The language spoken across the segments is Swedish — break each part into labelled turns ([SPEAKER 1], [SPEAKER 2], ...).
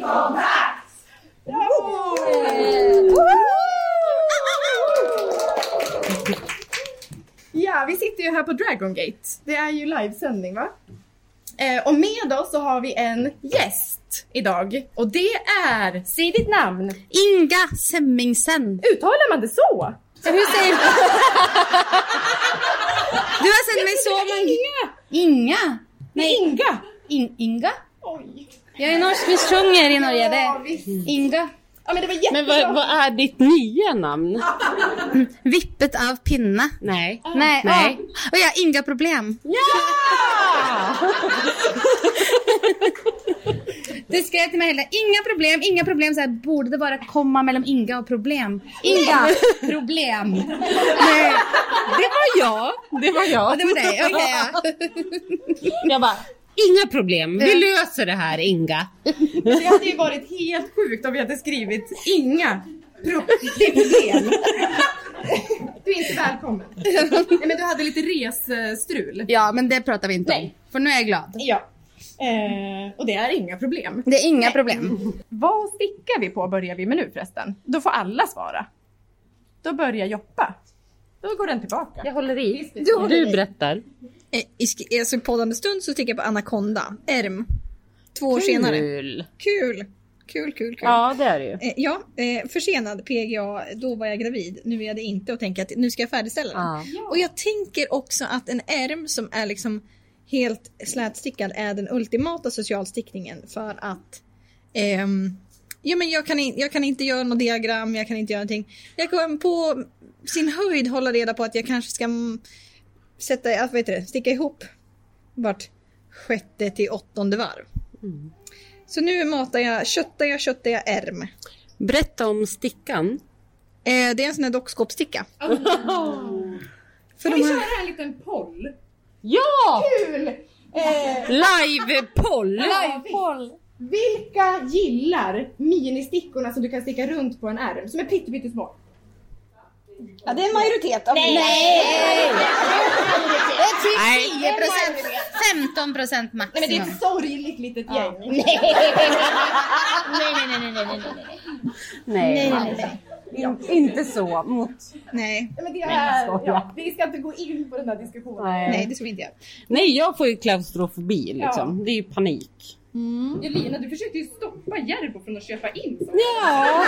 [SPEAKER 1] kontakt!
[SPEAKER 2] Ja, vi sitter ju här på Dragon Gate. Det är ju livesändning va? Eh, och med oss så har vi en gäst idag och det är,
[SPEAKER 3] Säg ditt namn.
[SPEAKER 4] Inga Semmingsen.
[SPEAKER 2] uttalar man det så?
[SPEAKER 4] Så Hur säger du? Du har sänt mig så många... Inga. Nej,
[SPEAKER 2] Inga!
[SPEAKER 4] in, Inga.
[SPEAKER 2] Oj.
[SPEAKER 4] Jag är norsk, vi sjunger i Norge. Det
[SPEAKER 2] Ja,
[SPEAKER 4] är
[SPEAKER 2] visst.
[SPEAKER 4] Inga.
[SPEAKER 2] ja men det var jättebra.
[SPEAKER 3] Men vad, vad är ditt nya namn?
[SPEAKER 4] Vippet av pinne.
[SPEAKER 3] Nej. Ah.
[SPEAKER 4] Nej. ah.
[SPEAKER 3] Nej.
[SPEAKER 4] ja. Och jag har inga problem. Du skrev till mig hela inga problem, inga problem. Så här, borde det bara komma mellan Inga och problem? Inga problem. Nej.
[SPEAKER 3] Det var jag. Det var
[SPEAKER 4] Ja,
[SPEAKER 3] jag.
[SPEAKER 4] det var det. Okej. ja.
[SPEAKER 3] Jag bara, inga problem. Vi löser det här Inga.
[SPEAKER 2] Det hade ju varit helt sjukt om vi hade skrivit inga problem. Du är inte välkommen. Nej, men du hade lite resstrul.
[SPEAKER 4] Ja, men det pratar vi inte om. För nu är jag glad.
[SPEAKER 2] Ja. Eh, och det är inga problem.
[SPEAKER 4] Det är inga problem.
[SPEAKER 2] Vad stickar vi på börjar vi med nu förresten? Då får alla svara. Då börjar Joppa. Då går den tillbaka.
[SPEAKER 3] Jag håller i.
[SPEAKER 5] Du,
[SPEAKER 3] Du berättar.
[SPEAKER 5] Eh, I sk- alltså, i poddande stund så sticker jag på Anaconda, Erm. Två år senare.
[SPEAKER 3] Kul.
[SPEAKER 5] Kul! Kul, kul, kul.
[SPEAKER 3] Ja, det är det ju.
[SPEAKER 5] Eh, ja, eh, försenad PGA, då var jag gravid. Nu är jag det inte och tänker att nu ska jag färdigställa den.
[SPEAKER 3] Ja.
[SPEAKER 5] Och jag tänker också att en ärm som är liksom helt slätstickad är den ultimata socialstickningen för att ehm, ja, men jag, kan in, jag kan inte göra något diagram, jag kan inte göra någonting. Jag kan på sin höjd hålla reda på att jag kanske ska mm, sätta, ja, vad heter det, sticka ihop vart sjätte till åttonde varv. Så nu matar jag, köttar jag, köttar jag ärm.
[SPEAKER 3] Berätta om stickan.
[SPEAKER 5] Eh, det är en sån här dockskåpssticka. För
[SPEAKER 2] Kan vi
[SPEAKER 5] de här-
[SPEAKER 2] köra en liten poll?
[SPEAKER 3] Ja!
[SPEAKER 2] Kul! Eh,
[SPEAKER 3] Livepoll!
[SPEAKER 2] vilka gillar ministickorna som du kan sticka runt på en ärm? Som är pyttesmå.
[SPEAKER 5] Ja, det är en majoritet av Nej!
[SPEAKER 4] Det är typ
[SPEAKER 3] Nej.
[SPEAKER 4] 10 procent. 15 procent
[SPEAKER 2] Nej men det är
[SPEAKER 4] maximum.
[SPEAKER 2] ett sorgligt litet gäng.
[SPEAKER 4] Nej, nej, nej, nej, nej, nej, nej.
[SPEAKER 3] Nej, In, inte så. Mot...
[SPEAKER 5] Nej,
[SPEAKER 2] Nej, men det är,
[SPEAKER 3] jag skojar.
[SPEAKER 2] ja, vi ska inte gå in på den där diskussionen.
[SPEAKER 5] nej
[SPEAKER 3] Nej.
[SPEAKER 5] det ska vi inte göra.
[SPEAKER 3] Nej, jag får ju klaustrofobi liksom. Det är ju panik.
[SPEAKER 2] Mm. Elina, du försökte ju stoppa Järbo från att köpa in
[SPEAKER 3] Mm.
[SPEAKER 2] saker.
[SPEAKER 3] Ja.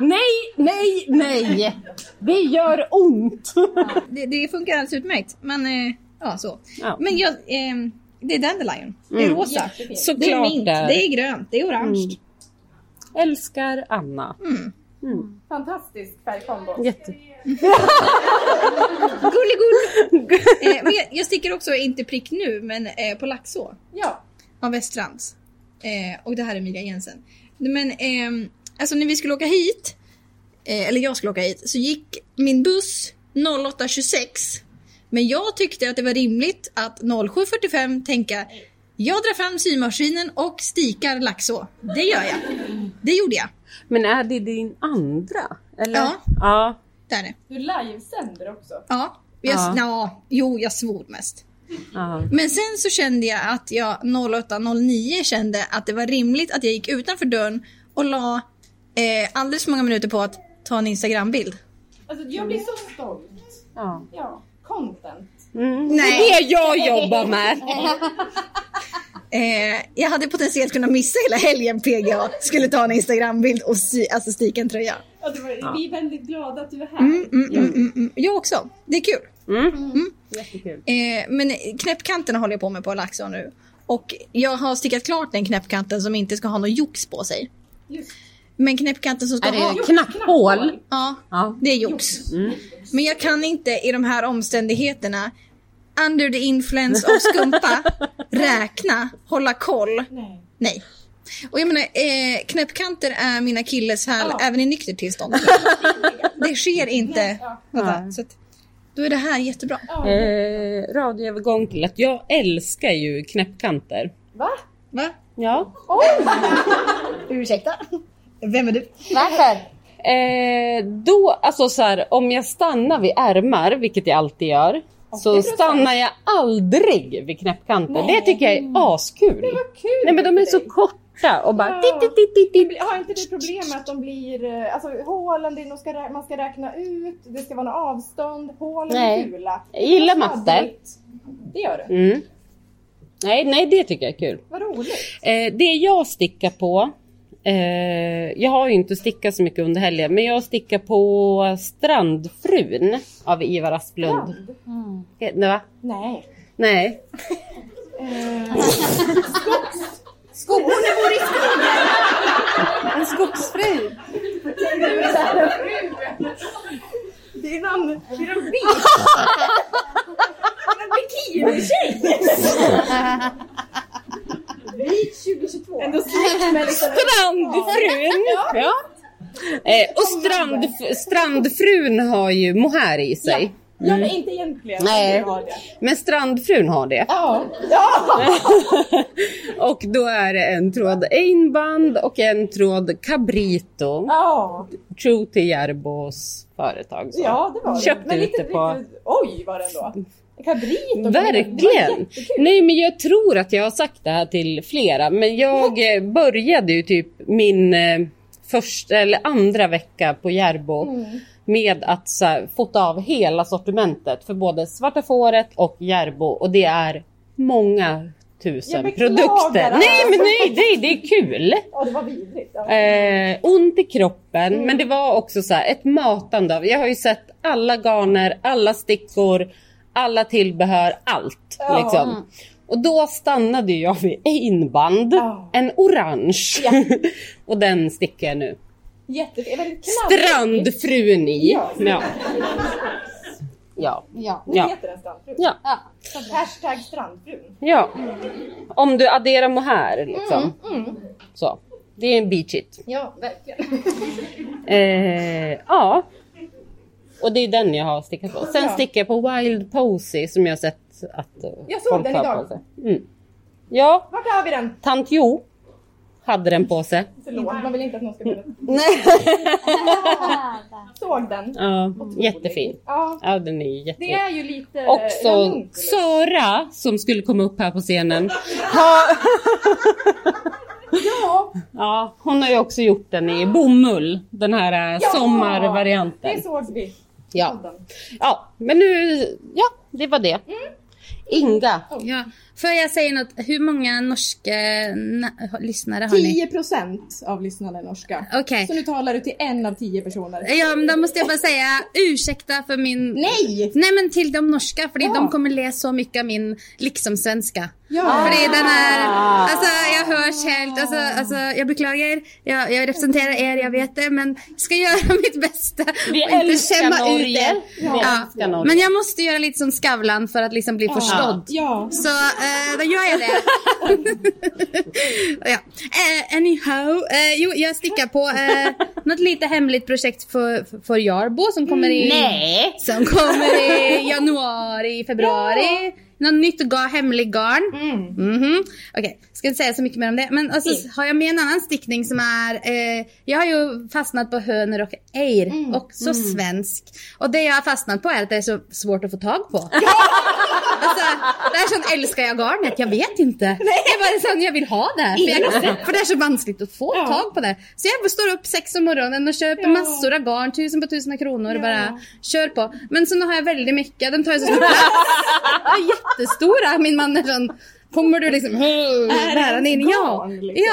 [SPEAKER 3] nej, nej, nej. Det gör ont.
[SPEAKER 5] Det, det funkar alldeles utmärkt. Men eh, ja, så.
[SPEAKER 3] Ja.
[SPEAKER 5] Men jag, ehm, det är dandelion. Det är
[SPEAKER 3] Mm.
[SPEAKER 5] rosa.
[SPEAKER 3] Såklart
[SPEAKER 5] Det är mint,
[SPEAKER 3] det.
[SPEAKER 5] det är grönt, det är orange.
[SPEAKER 3] Mm. Älskar Anna.
[SPEAKER 5] Mm.
[SPEAKER 3] Mm.
[SPEAKER 2] Fantastisk färgkombo.
[SPEAKER 3] Jätte...
[SPEAKER 5] Gulligull! eh, men jag, jag sticker också, inte prick nu, men eh, på Laxå
[SPEAKER 2] Ja.
[SPEAKER 5] av Västrands. Eh, och det här är Emilia Jensen. Men ehm, alltså när vi skulle åka hit, eh, eller jag skulle åka hit, så gick min buss 08.26. Men jag tyckte att det var rimligt att 07.45 tänka jag drar fram symaskinen och stikar Laxå. Det gör jag. Det gjorde jag.
[SPEAKER 3] Men är det din andra? Eller?
[SPEAKER 5] Ja.
[SPEAKER 3] ja.
[SPEAKER 5] Där är det.
[SPEAKER 2] Du livesänder också.
[SPEAKER 5] Ja. Jag,
[SPEAKER 3] Ja.
[SPEAKER 5] ja. jo, jag svor mest.
[SPEAKER 3] ja.
[SPEAKER 5] Men sen så kände jag att jag 08.09 kände att det var rimligt att jag gick utanför dörren och la eh, alldeles för många minuter på att ta en Instagram-bild.
[SPEAKER 2] Alltså, jag blir så stolt.
[SPEAKER 3] ja.
[SPEAKER 2] Ja. Content.
[SPEAKER 3] Mm.
[SPEAKER 5] Nej.
[SPEAKER 3] Det är det jag jobbar med.
[SPEAKER 5] Eh, jag hade potentiellt kunnat missa hela helgen PGA, skulle ta en Instagram-bild och sy, alltså stika en tröja.
[SPEAKER 2] Ja, det var, Vi är väldigt glada att du är här.
[SPEAKER 5] Mm, mm, mm, mm, mm. Jag också, det är kul.
[SPEAKER 3] Mm. Jättekul.
[SPEAKER 5] Eh, men knäppkanterna håller jag på med på Laxå nu. Och jag har stickat klart den knäppkanten som inte ska ha något jox på sig.
[SPEAKER 2] Just.
[SPEAKER 5] Men knäppkanten som ska
[SPEAKER 3] Är
[SPEAKER 5] ha...
[SPEAKER 3] det knapphål?
[SPEAKER 5] Ja,
[SPEAKER 3] Ja.
[SPEAKER 5] det är jox. Men jag kan inte i de här omständigheterna under the influence av skumpa, räkna, hålla koll.
[SPEAKER 2] Nej.
[SPEAKER 5] Nej. Och jag menar, eh, knäppkanter är mina akilleshäl
[SPEAKER 2] Ja.
[SPEAKER 5] även i nyktert tillstånd. det sker inte.
[SPEAKER 2] Ja.
[SPEAKER 5] något
[SPEAKER 3] Nej.
[SPEAKER 5] annat. Så att, då är det här jättebra.
[SPEAKER 2] Ja.
[SPEAKER 3] Eh, radioövergång till att jag älskar ju knäppkanter.
[SPEAKER 2] Va?
[SPEAKER 5] Va?
[SPEAKER 3] Ja.
[SPEAKER 5] Ursäkta? Vem är du?
[SPEAKER 4] Varför?
[SPEAKER 3] Eh, då, alltså så här, om jag stannar vid ärmar, vilket jag alltid gör, så
[SPEAKER 2] 80%.
[SPEAKER 3] stannar jag aldrig vid knäppkanter. Det tycker jag är askul.
[SPEAKER 2] Vad kul
[SPEAKER 3] Nej men de
[SPEAKER 2] för
[SPEAKER 3] är så
[SPEAKER 2] dig.
[SPEAKER 3] korta borta och bara...
[SPEAKER 6] Ja.
[SPEAKER 3] Titt, titt, titt, titt, titt.
[SPEAKER 6] Men Har inte det problem med att de blir, eh, alltså hålen, det är nog ska, rä- man ska räkna ut, det ska vara något avstånd, hålen
[SPEAKER 3] Nej.
[SPEAKER 6] är gula.
[SPEAKER 3] Jag gillar
[SPEAKER 6] Det är
[SPEAKER 3] matte.
[SPEAKER 6] sladdigt. Det gör du?
[SPEAKER 3] Mm. Nej, nej, det tycker jag är kul.
[SPEAKER 6] Vad roligt.
[SPEAKER 3] Eh, det jag stickar på, eh, jag har ju inte stickat så mycket under helgen, men jag stickar på Strandfrun av Ivar Asplund.
[SPEAKER 6] Brand.
[SPEAKER 3] Eh, Nej, va?
[SPEAKER 6] Nej. Eh,
[SPEAKER 3] Nej.
[SPEAKER 4] Skogen bor i skogen! En skogsfru.
[SPEAKER 6] Det är någon, det är någon bild. Det är någon bikini. Beach 2022. Ändå släkt med liksom...
[SPEAKER 3] Strandfrun! Ja. Eh, och strand, Strandfrun har ju mohair i sig.
[SPEAKER 6] Ja men inte egentligen.
[SPEAKER 3] Nej.
[SPEAKER 6] Jag har det.
[SPEAKER 3] Men Strandfrun har det.
[SPEAKER 6] Ja. ja.
[SPEAKER 3] och då är det en tråd Einband och en tråd Cabrito.
[SPEAKER 6] Ja.
[SPEAKER 3] True till Järbos företag. så.
[SPEAKER 6] Ja, det var det.
[SPEAKER 3] Köpte
[SPEAKER 6] men
[SPEAKER 3] ut
[SPEAKER 6] lite,
[SPEAKER 3] det på-
[SPEAKER 6] lite, oj var det ändå. Cabrit och Det var
[SPEAKER 3] Verkligen!
[SPEAKER 6] jättekul.
[SPEAKER 3] Nej men jag tror att jag har sagt det här till flera men jag eh, började ju typ min eh, första eller andra vecka på Järbo
[SPEAKER 6] Mm.
[SPEAKER 3] med att så här, fota av hela sortimentet för både Svarta Fåret och Järbo och det är många tusen
[SPEAKER 6] Jag beklagar
[SPEAKER 3] produkter.
[SPEAKER 6] alla.
[SPEAKER 3] Nej men nej, nej det är kul!
[SPEAKER 6] Ja, det var vidrigt. Ja.
[SPEAKER 3] Eh, ont i kroppen,
[SPEAKER 6] Mm.
[SPEAKER 3] men det var också så här, ett matande av... Jag har ju sett alla garner, alla stickor, alla tillbehör, allt.
[SPEAKER 6] Ja.
[SPEAKER 3] Liksom. Och då stannade jag vid einband,
[SPEAKER 6] Ja.
[SPEAKER 3] en orange.
[SPEAKER 6] Ja.
[SPEAKER 3] och den stickar jag nu.
[SPEAKER 6] Jätte, det är väldigt knalligt.
[SPEAKER 3] Strandfrun i.
[SPEAKER 6] Ja.
[SPEAKER 3] Ja. Ja.
[SPEAKER 4] Ja.
[SPEAKER 6] Nu
[SPEAKER 3] Ja.
[SPEAKER 6] heter den strandfrun.
[SPEAKER 3] ja.
[SPEAKER 4] ja.
[SPEAKER 6] Hashtag strandfrun.
[SPEAKER 3] ja. Om du adderar mohair liksom.
[SPEAKER 6] Mm,
[SPEAKER 3] Så. Det är en beachit.
[SPEAKER 6] Ja, verkligen.
[SPEAKER 3] Eh, ja. Och det är den jag har stickat på. Sen
[SPEAKER 6] Ja.
[SPEAKER 3] stickar jag på Wild Posy som jag har sett att eh,
[SPEAKER 6] Jag såg den
[SPEAKER 3] har
[SPEAKER 6] idag.
[SPEAKER 3] på sig. Mm. Ja,
[SPEAKER 6] Vart har vi den?
[SPEAKER 3] tant Jo hade den på sig.
[SPEAKER 6] Förlåt, man vill inte att någon ska bli Såg den?
[SPEAKER 3] Ja, jättefin.
[SPEAKER 6] Ja.
[SPEAKER 3] Ja, den är ju
[SPEAKER 6] Det
[SPEAKER 3] jättefin.
[SPEAKER 6] är ju lite...
[SPEAKER 3] Också
[SPEAKER 6] ranunculus.
[SPEAKER 3] Sara som skulle komma upp här på scenen.
[SPEAKER 6] Ja,
[SPEAKER 3] Ja, hon har ju också gjort den i bomull. Den här eh,
[SPEAKER 6] Ja!
[SPEAKER 3] sommarvarianten.
[SPEAKER 6] det såg vi.
[SPEAKER 3] Ja. ja, men nu... Ja, det var det.
[SPEAKER 6] Mm.
[SPEAKER 3] Inga.
[SPEAKER 4] Ja. Får jag säga något? Hur många norska na- lyssnare har ni?
[SPEAKER 6] 10 procent av lyssnarna är norska.
[SPEAKER 4] Okej.
[SPEAKER 6] Så nu talar du till en av tio personer.
[SPEAKER 4] Ja, men då måste jag bara säga ursäkta för min...
[SPEAKER 6] Nej!
[SPEAKER 4] Nej men till de norska, för
[SPEAKER 6] Ja.
[SPEAKER 4] de kommer le så mycket av min liksom liksom-svenska.
[SPEAKER 6] Ja.
[SPEAKER 4] För den är... Alltså jag hörs helt, alltså, alltså jag beklagar, jag, jag representerar er, jag vet det, men jag ska göra mitt bästa
[SPEAKER 3] Vi
[SPEAKER 4] och inte
[SPEAKER 3] älskar
[SPEAKER 4] skämma ut
[SPEAKER 3] Norge.
[SPEAKER 4] er.
[SPEAKER 3] Vi älskar
[SPEAKER 4] Ja.
[SPEAKER 3] Norge. Ah.
[SPEAKER 4] Men jag måste göra lite som Skavlan för att liksom bli förstådd.
[SPEAKER 6] Ja.
[SPEAKER 4] Så eh, då gör jag det. ja. eh, anyhow, eh, jo, jag stickar på eh, något lite hemligt projekt för, för Jarbo som kommer i,
[SPEAKER 3] Nej!
[SPEAKER 4] som kommer i januari, februari. Något nytt ga, hemlig garn.
[SPEAKER 6] Mm.
[SPEAKER 4] Mhm. Okej, ska inte säga så mycket mer om det. Men alltså, har jag med en annan stickning som är... Eh, jag har ju fastnat på hönor och ejr.
[SPEAKER 6] Mm.
[SPEAKER 4] Också svensk. Och det jag har fastnat på är att det är så svårt att få tag på. alltså, det är sån, älskar jag garnet? Jag vet inte. Det är bara sån, jag vill ha det. För, jag, för det är så vanskligt att få
[SPEAKER 6] Ja.
[SPEAKER 4] tag på det. Så jag står upp sex om morgonen och köper
[SPEAKER 6] Ja.
[SPEAKER 4] massor av garn. Tusen på tusen av kronor och bara kör på. Men så nu har jag väldigt mycket. Den tar ju så stor plats. De är jättestora. Min man är sån, kommer du liksom
[SPEAKER 6] Är det
[SPEAKER 4] nära
[SPEAKER 6] ens
[SPEAKER 4] in? Ja,
[SPEAKER 6] garn, liksom?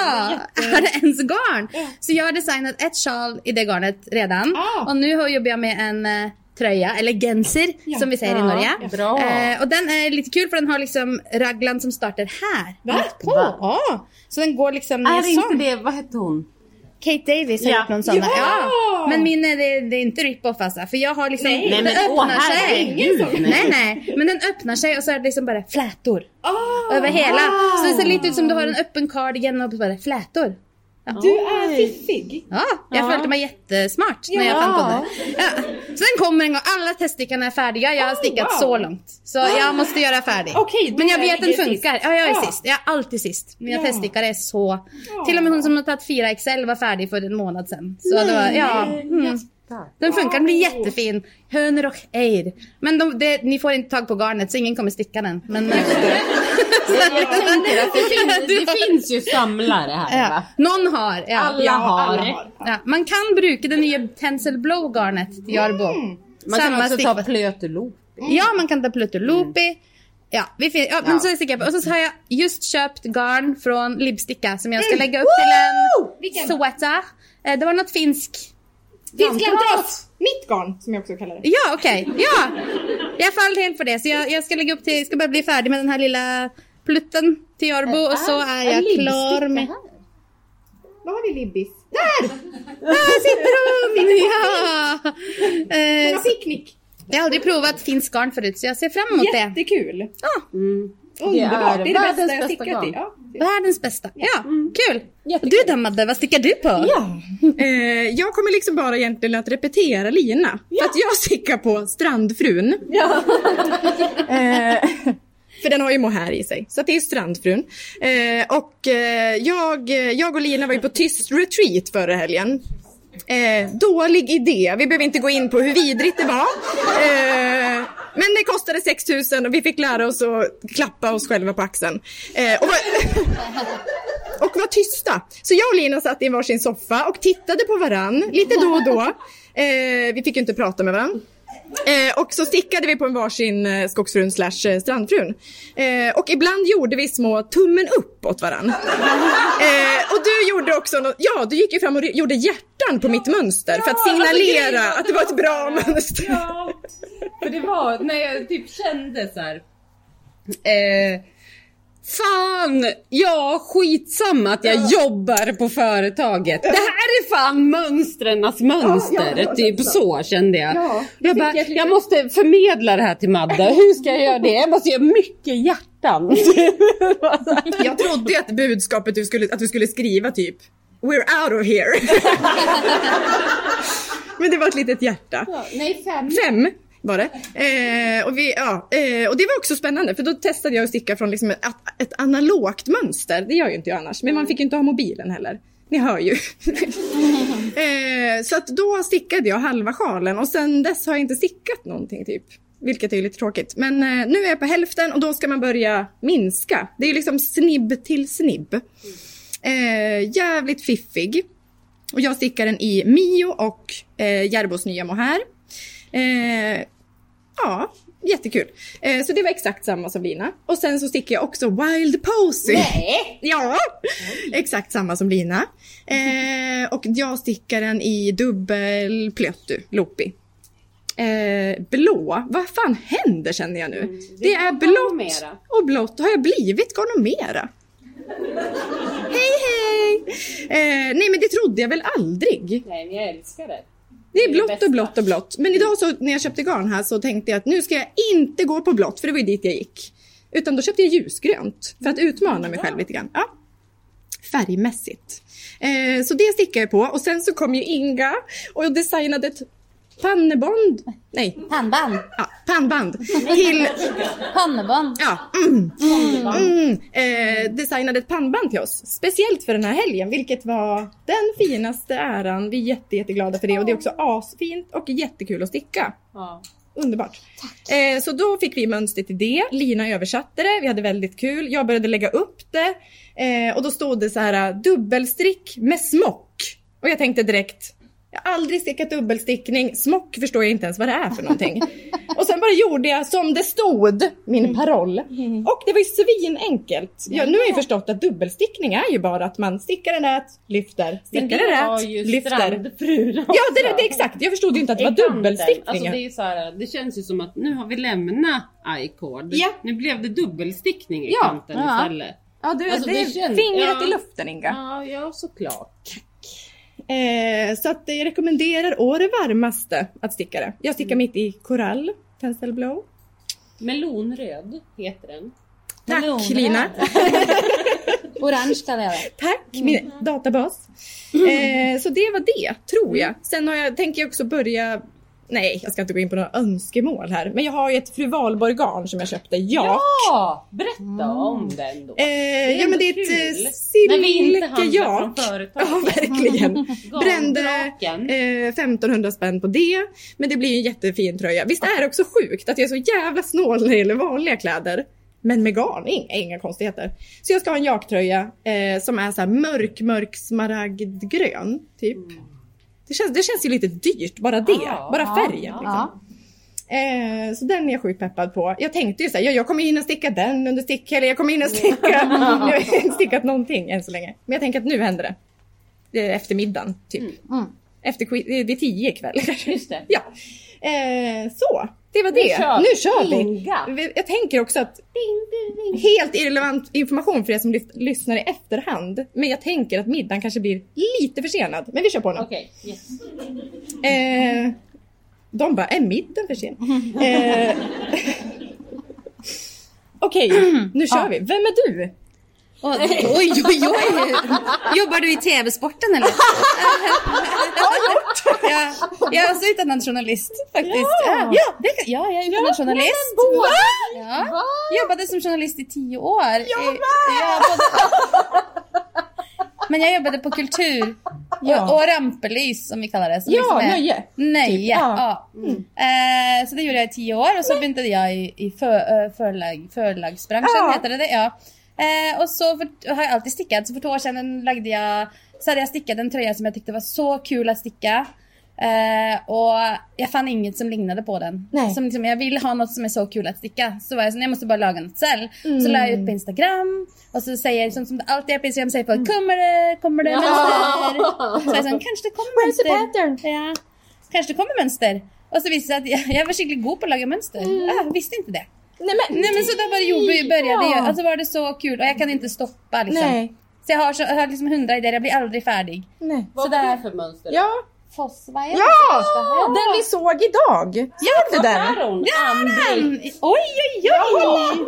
[SPEAKER 4] ja. är det ens garn? Så jag har designat ett sjal i det garnet redan.
[SPEAKER 6] Ah.
[SPEAKER 4] Och nu har- jobbar jag med en eh, tröja, eller genser
[SPEAKER 6] Ja.
[SPEAKER 4] som vi säger i
[SPEAKER 3] Ja,
[SPEAKER 4] Norge.
[SPEAKER 3] bra.
[SPEAKER 4] Eh, och den är lite kul för den har liksom raglan som startar här. mitt På.
[SPEAKER 3] Va?
[SPEAKER 4] Ja. Så den går liksom ner
[SPEAKER 3] Är inte
[SPEAKER 4] sån.
[SPEAKER 3] det, vad hette hon?
[SPEAKER 4] Kate Davis har
[SPEAKER 3] Ja.
[SPEAKER 4] gjort någon sån. Ja.
[SPEAKER 6] Ja.
[SPEAKER 4] Men min är, det, det är inte rip-off alltså. För jag har liksom,
[SPEAKER 6] Nej.
[SPEAKER 4] den öppnar sig.
[SPEAKER 3] herregud!
[SPEAKER 4] Nej nej, men den öppnar sig och så är det liksom bara flätor
[SPEAKER 6] Ah,
[SPEAKER 4] över hela.
[SPEAKER 6] wow.
[SPEAKER 4] Så det ser lite ut som du har en öppen cardigan och bara flätor.
[SPEAKER 6] Du är fiffig.
[SPEAKER 4] Ja, jag
[SPEAKER 3] Ja.
[SPEAKER 4] följde mig jättesmart när jag
[SPEAKER 6] Ja.
[SPEAKER 4] fann på det. Ja. Sen kommer en gång, alla teststickarna är färdiga. Jag har
[SPEAKER 6] Oh,
[SPEAKER 4] stickat
[SPEAKER 6] wow. Ah.
[SPEAKER 4] så långt. Så jag måste göra färdig.
[SPEAKER 6] Okej, då
[SPEAKER 4] men jag
[SPEAKER 6] är
[SPEAKER 4] vet
[SPEAKER 6] det
[SPEAKER 4] den
[SPEAKER 6] sist.
[SPEAKER 4] funkar. Ja, jag är
[SPEAKER 6] Ja.
[SPEAKER 4] sist. Jag är alltid sist. Mina
[SPEAKER 6] Ja.
[SPEAKER 4] teststickare är så...
[SPEAKER 6] Ja.
[SPEAKER 4] Till och med hon som har tagit 4 XL var färdig för en månad sedan. Så det var, ja. Mm. Den funkar, den blir jättefin. Hönor och ejder. Men de, det, ni får inte tag på garnet så ingen kommer sticka den. Men,
[SPEAKER 3] Jag, jag tänker att det finns, det finns ju samlare här
[SPEAKER 4] Ja.
[SPEAKER 3] va?
[SPEAKER 4] Någon har. Ja.
[SPEAKER 3] Alla
[SPEAKER 4] ja.
[SPEAKER 3] har.
[SPEAKER 4] Ja. Man kan bruka det nya Tencel Blow garnet till Jarbo.
[SPEAKER 3] Mm. Man kan också
[SPEAKER 4] stickpapper.
[SPEAKER 3] ta Mm. plötelo.
[SPEAKER 4] Ja, man kan ta Plutolupi. Ja, vi fin- ja, men Så är jag på. Och så har jag just köpt garn från Lipsticka som jag ska
[SPEAKER 3] Mm.
[SPEAKER 4] lägga upp till en
[SPEAKER 7] Vilken?
[SPEAKER 4] sweater. Eh, Det var något finsk.
[SPEAKER 7] Finns
[SPEAKER 4] Garn.
[SPEAKER 7] garndross! Mitt garn, som jag också kallar det.
[SPEAKER 4] Ja, okej. Ja, jag faller helt för det. Så jag, jag ska lägga upp till, jag ska bara bli färdig med den här lilla plutten till Jorbo och så är jag klar med...
[SPEAKER 7] Då har vi Libbis. Där!
[SPEAKER 4] Här sitter hon! Ja! Eh,
[SPEAKER 7] Några picknick.
[SPEAKER 4] jag har aldrig provat finsk garn förut så jag ser fram emot det.
[SPEAKER 7] Jättekul.
[SPEAKER 3] Mm.
[SPEAKER 7] Underbart. Det är det
[SPEAKER 3] världens
[SPEAKER 7] bästa jag
[SPEAKER 3] bästa
[SPEAKER 7] stickat i.
[SPEAKER 3] garn.
[SPEAKER 7] Ja.
[SPEAKER 4] Världens bästa. Ja, kul! Och du då Madde, vad stickar du på?
[SPEAKER 2] Ja. Eh, jag kommer liksom bara egentligen att repetera Lina. För att jag stickar på strandfrun. eh, för den har ju mohair i sig. Så att det är strandfrun. Eh, och eh, jag, jag och Lina var ju på tyst retreat förra helgen. Eh, dålig idé. Vi behöver inte gå in på hur vidrigt det var. Eh, men det kostade 6 000 och vi fick lära oss att klappa oss själva på axeln. Eh, och vad- och var tysta. Så jag och Lina satt i varsin soffa och tittade på varann lite då och då. Eh, vi fick ju inte prata med varann. Eh, och så stickade vi på en varsin eh, skogsfrun slash eh, strandfrun. Eh, och ibland gjorde vi små tummen upp åt varann. Eh, och du gjorde också något, ja du gick ju fram och gjorde hjärtan på mitt mönster för att signalera att det var ett bra mönster.
[SPEAKER 3] Ja, för det var när jag typ kände så här. Eh, fan, ja skitsamma att jag jobbar på företaget. Det här är fan mönstrens mönster. typ så kände jag. jag, bara, jag måste förmedla det här till Madde. Hur ska jag göra det? Jag måste göra mycket hjärtan.
[SPEAKER 2] Jag trodde ju att budskapet du skulle, att du skulle skriva typ We're out of here. Men det var ett litet hjärta.
[SPEAKER 3] Nej, fem.
[SPEAKER 2] Fem var det. Eh, och, vi, ja, eh, och det var också spännande för då testade jag att sticka från liksom ett, ett analogt mönster. Det gör ju inte jag annars. Men man fick ju inte ha mobilen heller. Ni hör ju. eh, så att då stickade jag halva sjalen och sen dess har jag inte stickat någonting typ. Vilket är ju lite tråkigt. Men eh, nu är jag på hälften och då ska man börja minska. Det är ju liksom snibb till snibb. Eh, jävligt fiffig. Och jag stickar den i Mio och eh, Järbos nya mohair. Eh, ja, jättekul. Eh, så det var exakt samma som Lina. Och sen så stickar jag också Wild Posy. Nej! ja, exakt samma som Lina. Eh, och jag stickar den i dubbel plöttu, loopy. Eh, blå, vad fan händer känner jag nu? Mm, det, är blått
[SPEAKER 3] gonormera.
[SPEAKER 2] och blått. Har jag blivit gonormera? hej hej! Eh, nej men det trodde jag väl aldrig.
[SPEAKER 3] Nej, men jag älskar det.
[SPEAKER 2] Det är
[SPEAKER 3] det
[SPEAKER 2] blått
[SPEAKER 3] bästa.
[SPEAKER 2] och blått och blått. Men idag så när jag köpte garn här så tänkte jag att nu ska jag inte gå på blått för det var ju dit jag gick. Utan då köpte jag ljusgrönt för att utmana mig själv lite grann. Ja. Färgmässigt. Eh, så det stickar jag på och sen så kom ju Inga och designade ett panneband. Nej,
[SPEAKER 5] Pannband.
[SPEAKER 2] ja, pannband. Till,
[SPEAKER 5] Pannband.
[SPEAKER 2] ja, mm, mm, eh, designade ett pannband till oss. Speciellt för den här helgen, vilket var den finaste äran. Vi är jätte, jätteglada för det och det är också asfint och jättekul att sticka.
[SPEAKER 3] Ja.
[SPEAKER 2] Underbart. Eh, så då fick vi mönstret till det. Lina översatte det. Vi hade väldigt kul. Jag började lägga upp det. Eh, och då stod det så här dubbelstrick med smock. Och jag tänkte direkt jag har aldrig stickat dubbelstickning. Smock förstår jag inte ens vad det är för någonting. och sen bara gjorde jag som det stod,
[SPEAKER 3] Mm.
[SPEAKER 2] min paroll. Och det var ju svinenkelt. Jag, nu har jag ju förstått att dubbelstickning är ju bara att man stickar en nät, lyfter,
[SPEAKER 3] Men
[SPEAKER 2] stickar
[SPEAKER 3] det var
[SPEAKER 2] en
[SPEAKER 3] ju
[SPEAKER 2] nät, lyfter.
[SPEAKER 3] strandfrun
[SPEAKER 2] Ja, det, det är exakt. Jag förstod ju inte att det var
[SPEAKER 3] i kanten.
[SPEAKER 2] dubbelstickning.
[SPEAKER 3] Alltså det, är ju så här, det känns ju som att nu har vi lämnat I-cord.
[SPEAKER 2] Ja.
[SPEAKER 3] Nu blev det dubbelstickning i
[SPEAKER 2] Ja,
[SPEAKER 3] kanten
[SPEAKER 5] ja.
[SPEAKER 3] istället.
[SPEAKER 2] Ja, du,
[SPEAKER 3] Alltså,
[SPEAKER 2] det,
[SPEAKER 3] det
[SPEAKER 2] är
[SPEAKER 3] känns-
[SPEAKER 2] fingret
[SPEAKER 3] ja.
[SPEAKER 2] i luften Inga.
[SPEAKER 3] Ja, ja såklart.
[SPEAKER 2] Eh, så att jag rekommenderar å det varmaste att sticka det. Jag stickar mitt i korall, Tencel Blow.
[SPEAKER 3] Melonröd heter den.
[SPEAKER 2] Tack
[SPEAKER 5] Melonröd.
[SPEAKER 2] Lina!
[SPEAKER 5] Orange kallar jag det.
[SPEAKER 2] Tack min databas! Eh, så det var det, tror jag. Sen har jag, tänker jag också börja Nej, jag ska inte gå in på några önskemål här. Men jag har ju ett fru Valborg-garn som jag köpte. Ja!
[SPEAKER 3] Ja, berätta om den då.
[SPEAKER 2] Eh,
[SPEAKER 3] är
[SPEAKER 2] ja men
[SPEAKER 3] ändå
[SPEAKER 2] det är ett
[SPEAKER 3] kul.
[SPEAKER 2] eh,
[SPEAKER 3] När vi inte handlar
[SPEAKER 2] silkejak.
[SPEAKER 3] från företag.
[SPEAKER 2] Ja, verkligen. Brände
[SPEAKER 3] Garndraken.
[SPEAKER 2] eh, 1500 spänn på det. Men det blir ju en jättefin tröja. Visst är det också sjukt att jag är så jävla snål när det gäller vanliga kläder? Men med garn, inga, inga konstigheter. Så jag ska ha en jaktröja eh, som är så här mörk, mörk smaragdgrön. Typ.
[SPEAKER 8] Mm.
[SPEAKER 2] Det, känns, det känns ju lite dyrt, bara det. bara färgen. Liksom.
[SPEAKER 8] Ja.
[SPEAKER 2] Eh, så den är jag sjukt peppad på. Jag tänkte ju så här, ja, jag kommer hinna sticka den under stick, eller jag kommer hinna sticka. jag har inte stickat någonting än så länge. Men jag tänker att nu händer det. Det är eftermiddagen, typ. Efter, quiz- eh, det är- det är tio ikväll.
[SPEAKER 3] Just det.
[SPEAKER 2] Ja. Eh, så, det var det. Nu kör,
[SPEAKER 3] kör vi.
[SPEAKER 2] vi.
[SPEAKER 3] Inga.
[SPEAKER 2] Vi- Jag tänker också att helt irrelevant information för er som lys- lyssnar i efterhand. Men jag tänker att middagen kanske blir lite försenad. Men vi kör på nu.
[SPEAKER 3] Okej, yes.
[SPEAKER 2] Eh, de bara, är middagen för sen? Eh, Okej, nu kör vi. Vem är du?
[SPEAKER 4] Och, oj, oj, oj! Jobbar du i tv-sporten eller? ja, jag är också utbildad journalist faktiskt. Ja, ja, det kan, ja jag är utbildad journalist. Ja. Jobbade som journalist i tio år. Jag med! men jag jobbade på kultur
[SPEAKER 2] Ja.
[SPEAKER 4] och, och rampelys som vi kallar det. Som liksom är-
[SPEAKER 2] nöje. Typ.
[SPEAKER 4] Nej, ja.
[SPEAKER 2] ja. Mm.
[SPEAKER 4] Eh, så det gjorde jag i tio år och så började jag i, i för, eh, förlag, förlagsbranschen,
[SPEAKER 2] Ja.
[SPEAKER 4] heter det det? Ja. Eh, och så för, har jag alltid stickat, så för två år sedan lagde jag, så hade jag stickat en tröja som jag tyckte var så kul att sticka. Eh, och jag fann inget som lignade på den.
[SPEAKER 2] Nej.
[SPEAKER 4] Som, liksom, jag vill ha något som är så kul att sticka. Så var jag så, nej, jag måste bara laga något själv. Så la jag
[SPEAKER 2] Mm.
[SPEAKER 4] ut på Instagram. Och så säger, som, som alltid jag på Instagram säger folk, kommer det, kommer det mönster? Så jag sa, kanske det kommer mönster. Ja. Kanske det kommer mönster. Och så visste jag att jag, jag var skickligt god på att laga mönster. Ah, visste inte det.
[SPEAKER 2] Nej, men,
[SPEAKER 4] Nej men så där bara gjorde, började jag.
[SPEAKER 2] Mm. Ja.
[SPEAKER 4] Alltså var det så kul och jag kan inte stoppa liksom.
[SPEAKER 2] Nej.
[SPEAKER 4] Så jag har, så, jag har liksom hundra idéer, jag blir aldrig färdig.
[SPEAKER 2] nej.
[SPEAKER 3] Vad var det för mönster?
[SPEAKER 2] Ja,
[SPEAKER 8] Fossvajer.
[SPEAKER 2] ja! den vi såg idag. Såg du den?
[SPEAKER 3] Där hon, Ann-Britt.
[SPEAKER 4] Mm. Oj oj oj!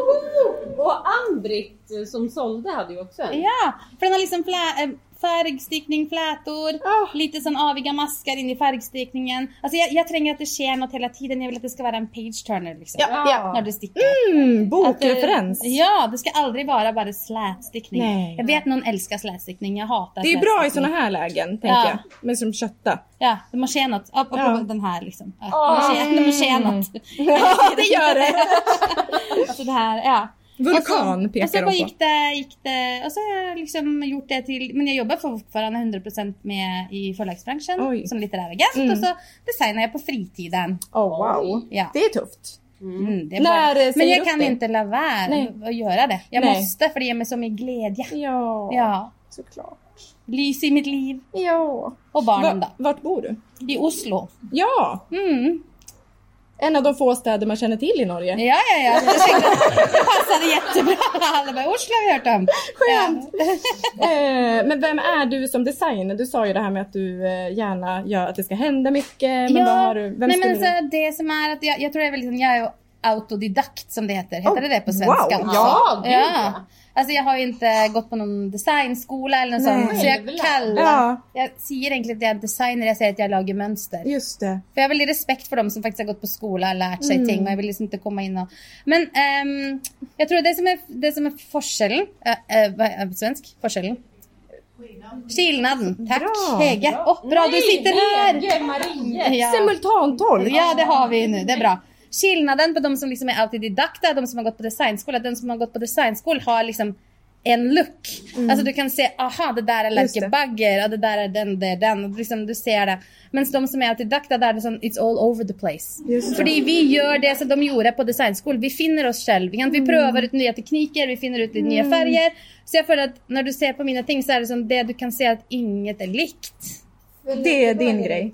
[SPEAKER 3] Och Ann-Britt eh, som sålde hade ju också en.
[SPEAKER 4] Ja, för den har liksom flä, eh, färgstickning, flätor,
[SPEAKER 2] Ah.
[SPEAKER 4] lite sån aviga maskar in i färgstickningen. Alltså jag, jag tränger att det sker något hela tiden, jag vill att det ska vara en page turner liksom.
[SPEAKER 2] Ja, ja.
[SPEAKER 4] När du stickar.
[SPEAKER 2] Mm,
[SPEAKER 4] Att det-
[SPEAKER 2] bokreferens.
[SPEAKER 4] Ja, det ska aldrig vara bara slätstickning.
[SPEAKER 2] Nej.
[SPEAKER 4] Jag vet någon älskar slätstickning, jag hatar
[SPEAKER 2] Det är bra i
[SPEAKER 4] slätstickning.
[SPEAKER 2] såna här lägen, tänker
[SPEAKER 4] Ja.
[SPEAKER 2] jag. Men som kötta.
[SPEAKER 4] Ja, det måste ske något. Upp, upp,
[SPEAKER 2] Ja. Ah. Mm.
[SPEAKER 4] upp, den här liksom. Ja, det måste ske- Det måste ske något.
[SPEAKER 2] Ja, det gör det! Alltså,
[SPEAKER 4] Alltså det här, ja.
[SPEAKER 2] Vulkan
[SPEAKER 4] och så, och så
[SPEAKER 2] pekar
[SPEAKER 4] bara
[SPEAKER 2] de på.
[SPEAKER 4] gick det, gick det. Och så har jag liksom gjort det till, men jag jobbar fortfarande 100% med i förlagsbranschen
[SPEAKER 2] Oj.
[SPEAKER 4] som litterär agent
[SPEAKER 2] Mm.
[SPEAKER 4] och så designar jag på fritiden.
[SPEAKER 2] Oh, wow.
[SPEAKER 4] Ja.
[SPEAKER 2] Det är tufft.
[SPEAKER 4] Mm, det är
[SPEAKER 2] När,
[SPEAKER 4] bra.
[SPEAKER 2] eh, säger
[SPEAKER 4] men jag
[SPEAKER 2] du upp
[SPEAKER 4] kan
[SPEAKER 2] det?
[SPEAKER 4] inte la vara
[SPEAKER 2] Nej.
[SPEAKER 4] att göra det. Jag
[SPEAKER 2] Nej.
[SPEAKER 4] måste för det ger mig så mycket glädje.
[SPEAKER 2] Ja,
[SPEAKER 4] Ja,
[SPEAKER 2] såklart.
[SPEAKER 4] lys i mitt liv
[SPEAKER 2] Ja.
[SPEAKER 4] och barnen
[SPEAKER 2] Va- vart bor du?
[SPEAKER 4] då. I Oslo.
[SPEAKER 2] Ja,
[SPEAKER 4] Mm.
[SPEAKER 2] en av de få städer man känner till i Norge.
[SPEAKER 4] Ja, ja, ja. Jag tänkte att Det passade jättebra. Alla bara, Oslo har vi hört om.
[SPEAKER 2] Skönt! Eh, Men vem är du som designer? Du sa ju det här med att du eh, gärna gör att det ska hända mycket. Men vad har du? Vem
[SPEAKER 4] nej, men
[SPEAKER 2] skulle du...
[SPEAKER 4] så det som är att jag, jag tror jag är väl liksom, jag är autodidakt som det heter. Heter
[SPEAKER 2] Oh,
[SPEAKER 4] det det på svenska
[SPEAKER 2] wow.
[SPEAKER 4] också?
[SPEAKER 3] Ja, gud,
[SPEAKER 4] ja.
[SPEAKER 3] ja.
[SPEAKER 4] Alltså jag har ju inte gått på någon designskola eller något
[SPEAKER 2] Nej.
[SPEAKER 4] sånt. Så jag
[SPEAKER 3] Självlärd.
[SPEAKER 4] kallar,
[SPEAKER 2] Ja.
[SPEAKER 4] jag säger egentligen att jag är designer, jag säger att jag lagar mönster.
[SPEAKER 2] Just det.
[SPEAKER 4] För jag har väldigt respekt för dem som faktiskt har gått på skola och lärt sig
[SPEAKER 2] Mm.
[SPEAKER 4] ting och jag vill liksom inte komma in och... Men ehm, jag tror det som är, det som är forskellen, eh, eh, vad är svensk? Forskellen? Skillnaden, tack!
[SPEAKER 2] Bra.
[SPEAKER 4] Hege! Åh, bra du sitter här!
[SPEAKER 3] Hege Marie!
[SPEAKER 4] Ja.
[SPEAKER 2] Simultantolk!
[SPEAKER 4] ja, det har vi nu, det är bra. Skillnaden på de som liksom är autodidakta, de som har gått på designskola, de som har gått på designskola har liksom en look. Alltså du kan se, aha det där är
[SPEAKER 2] Mm. Just
[SPEAKER 4] Lerke
[SPEAKER 2] det.
[SPEAKER 4] Bagger, ja, det där är den, det är den. Och Liksom, du ser det. Men de som är autodidakta, där är det sån, it's all over the place.
[SPEAKER 2] Just det.
[SPEAKER 4] Fordi vi gör det som de gjorde på designskolan. Vi finner oss själva. Vi, kan-
[SPEAKER 2] Mm.
[SPEAKER 4] vi prövar ut nya tekniker, vi finner ut lite nya färger. Så jag för att när du ser på mina ting så är det som det du kan se att inget är likt.
[SPEAKER 2] Det är din grej.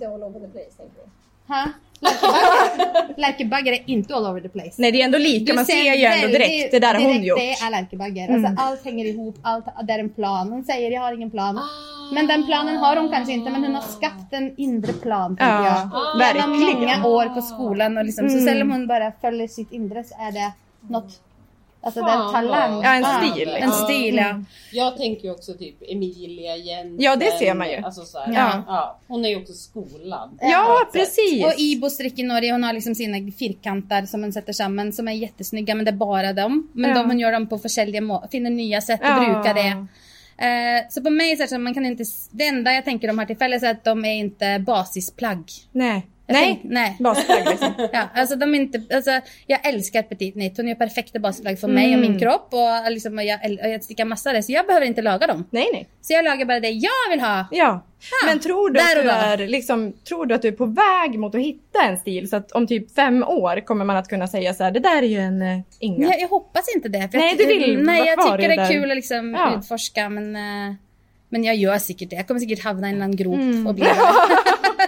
[SPEAKER 4] Ha? Lerke Bagger- Lerke Bagger är inte all over the place.
[SPEAKER 2] Nej, det är ändå lika. Man ser ju ändå direkt. Det där har hon
[SPEAKER 4] direkt
[SPEAKER 2] gjort. Mm.
[SPEAKER 4] Det är Lerke Bagger. Alltså, allt hänger ihop, allt, det är en plan. Hon säger jag har ingen plan.
[SPEAKER 3] Ah.
[SPEAKER 4] Men den planen har hon kanske inte, men hon har skapat en inre plan. tänker
[SPEAKER 2] Ja,
[SPEAKER 4] jag. Genom
[SPEAKER 2] verkligen. Mm.
[SPEAKER 4] många år på skolan. Och liksom, Så även om hon bara följer sitt inre så är det något, alltså det är en
[SPEAKER 3] Fan,
[SPEAKER 4] talang.
[SPEAKER 3] vad-
[SPEAKER 2] Ja, en stil. Ah.
[SPEAKER 4] En stil, ja.
[SPEAKER 9] Mm.
[SPEAKER 3] Jag tänker ju också typ Emilia Jensen.
[SPEAKER 2] Ja, det ser man ju.
[SPEAKER 3] Alltså så här,
[SPEAKER 2] Ja.
[SPEAKER 3] ja. Hon är ju också skolad.
[SPEAKER 2] Ja, precis.
[SPEAKER 4] Och Ibo strick i Norge, hon har liksom sina firkanter som hon sätter samman som är jättesnygga men det är bara dem. Men
[SPEAKER 2] Ja.
[SPEAKER 4] de, hon gör dem på olika må- finner nya sätt att
[SPEAKER 2] Ja.
[SPEAKER 4] bruka det. Eh, så på mig så är det så att man kan inte, s- det enda jag tänker de har till fälles är att de är inte basisplagg.
[SPEAKER 2] Nej.
[SPEAKER 4] Jag Nej. Nej.
[SPEAKER 2] Basplagg liksom.
[SPEAKER 4] Ja, alltså de är inte, alltså, jag älskar petit nit. Hon är perfekta basplagg för mig och
[SPEAKER 2] Mm.
[SPEAKER 4] min kropp. Och liksom, jag, äl- och jag stickar massa av det, så jag behöver inte laga dem.
[SPEAKER 2] Nej, nej.
[SPEAKER 4] Så jag lagar bara det jag vill ha.
[SPEAKER 2] Ja. Men tror du,
[SPEAKER 4] där
[SPEAKER 2] att
[SPEAKER 4] och
[SPEAKER 2] du
[SPEAKER 4] då.
[SPEAKER 2] är, liksom, tror du att du är på väg mot att hitta en stil? Så att om typ fem år kommer man att kunna säga så här, det där är ju en eh, Inga.
[SPEAKER 4] Jag, jag hoppas inte det. för
[SPEAKER 2] Nej,
[SPEAKER 4] jag, mm,
[SPEAKER 2] du vill
[SPEAKER 4] Nej,
[SPEAKER 2] vara
[SPEAKER 4] jag
[SPEAKER 2] kvar
[SPEAKER 4] tycker
[SPEAKER 2] i
[SPEAKER 4] det är
[SPEAKER 2] det.
[SPEAKER 4] kul att liksom
[SPEAKER 2] Ja.
[SPEAKER 4] utforska. Men, eh, men jag gör säkert det. Jag kommer säkert havna i en annan grop
[SPEAKER 2] Mm.
[SPEAKER 4] och bli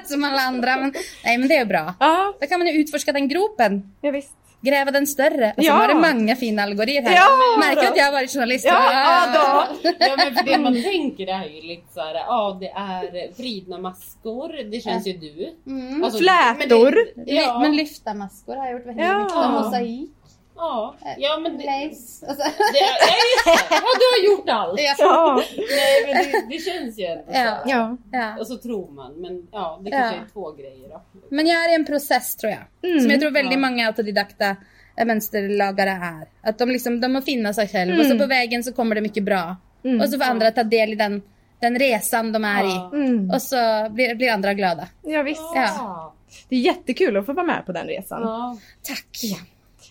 [SPEAKER 4] som alla andra. Men, nej, men det är bra.
[SPEAKER 2] Ja,
[SPEAKER 4] Då kan man ju utforska den gropen.
[SPEAKER 2] ja visst.
[SPEAKER 4] Gräva den större. Och så
[SPEAKER 2] Ja.
[SPEAKER 4] har det många fina algorier här.
[SPEAKER 2] Ja,
[SPEAKER 4] Märker du
[SPEAKER 2] då.
[SPEAKER 4] att jag har varit journalist?
[SPEAKER 2] Ja, ja då.
[SPEAKER 9] Ja men för det man tänker är ju lite såhär, ja det är vridna maskor, det känns ju du.
[SPEAKER 4] Mm.
[SPEAKER 9] Alltså,
[SPEAKER 2] Flätor.
[SPEAKER 9] men det- ja,
[SPEAKER 4] Men lyfta maskor har jag gjort väldigt
[SPEAKER 2] Ja.
[SPEAKER 4] mycket. Och mosaik,
[SPEAKER 9] ja, ja men det,
[SPEAKER 4] lace. Alltså,
[SPEAKER 9] det, ja, just det. ja du har gjort allt.
[SPEAKER 4] ja.
[SPEAKER 2] Ja.
[SPEAKER 9] Nej men det, det känns ju ändå så.
[SPEAKER 4] Ja.
[SPEAKER 2] ja.
[SPEAKER 4] Ja.
[SPEAKER 9] Och så tror man, men ja det kanske är två grejer då.
[SPEAKER 4] Men jag är i en process tror jag.
[SPEAKER 2] Mm.
[SPEAKER 4] Som jag tror väldigt många autodidakta eh, mönsterlagare är. Att de, liksom, de må finna sig själv och
[SPEAKER 2] Mm.
[SPEAKER 4] så på vägen så kommer det mycket bra. Och så får andra ta del i den, den resan de är
[SPEAKER 9] Ja.
[SPEAKER 4] i.
[SPEAKER 2] Mm.
[SPEAKER 4] Och så blir, blir andra glada.
[SPEAKER 2] ja, visst.
[SPEAKER 4] Ja.
[SPEAKER 2] Det är jättekul att få vara med på den resan.
[SPEAKER 9] Ja.
[SPEAKER 4] Tack!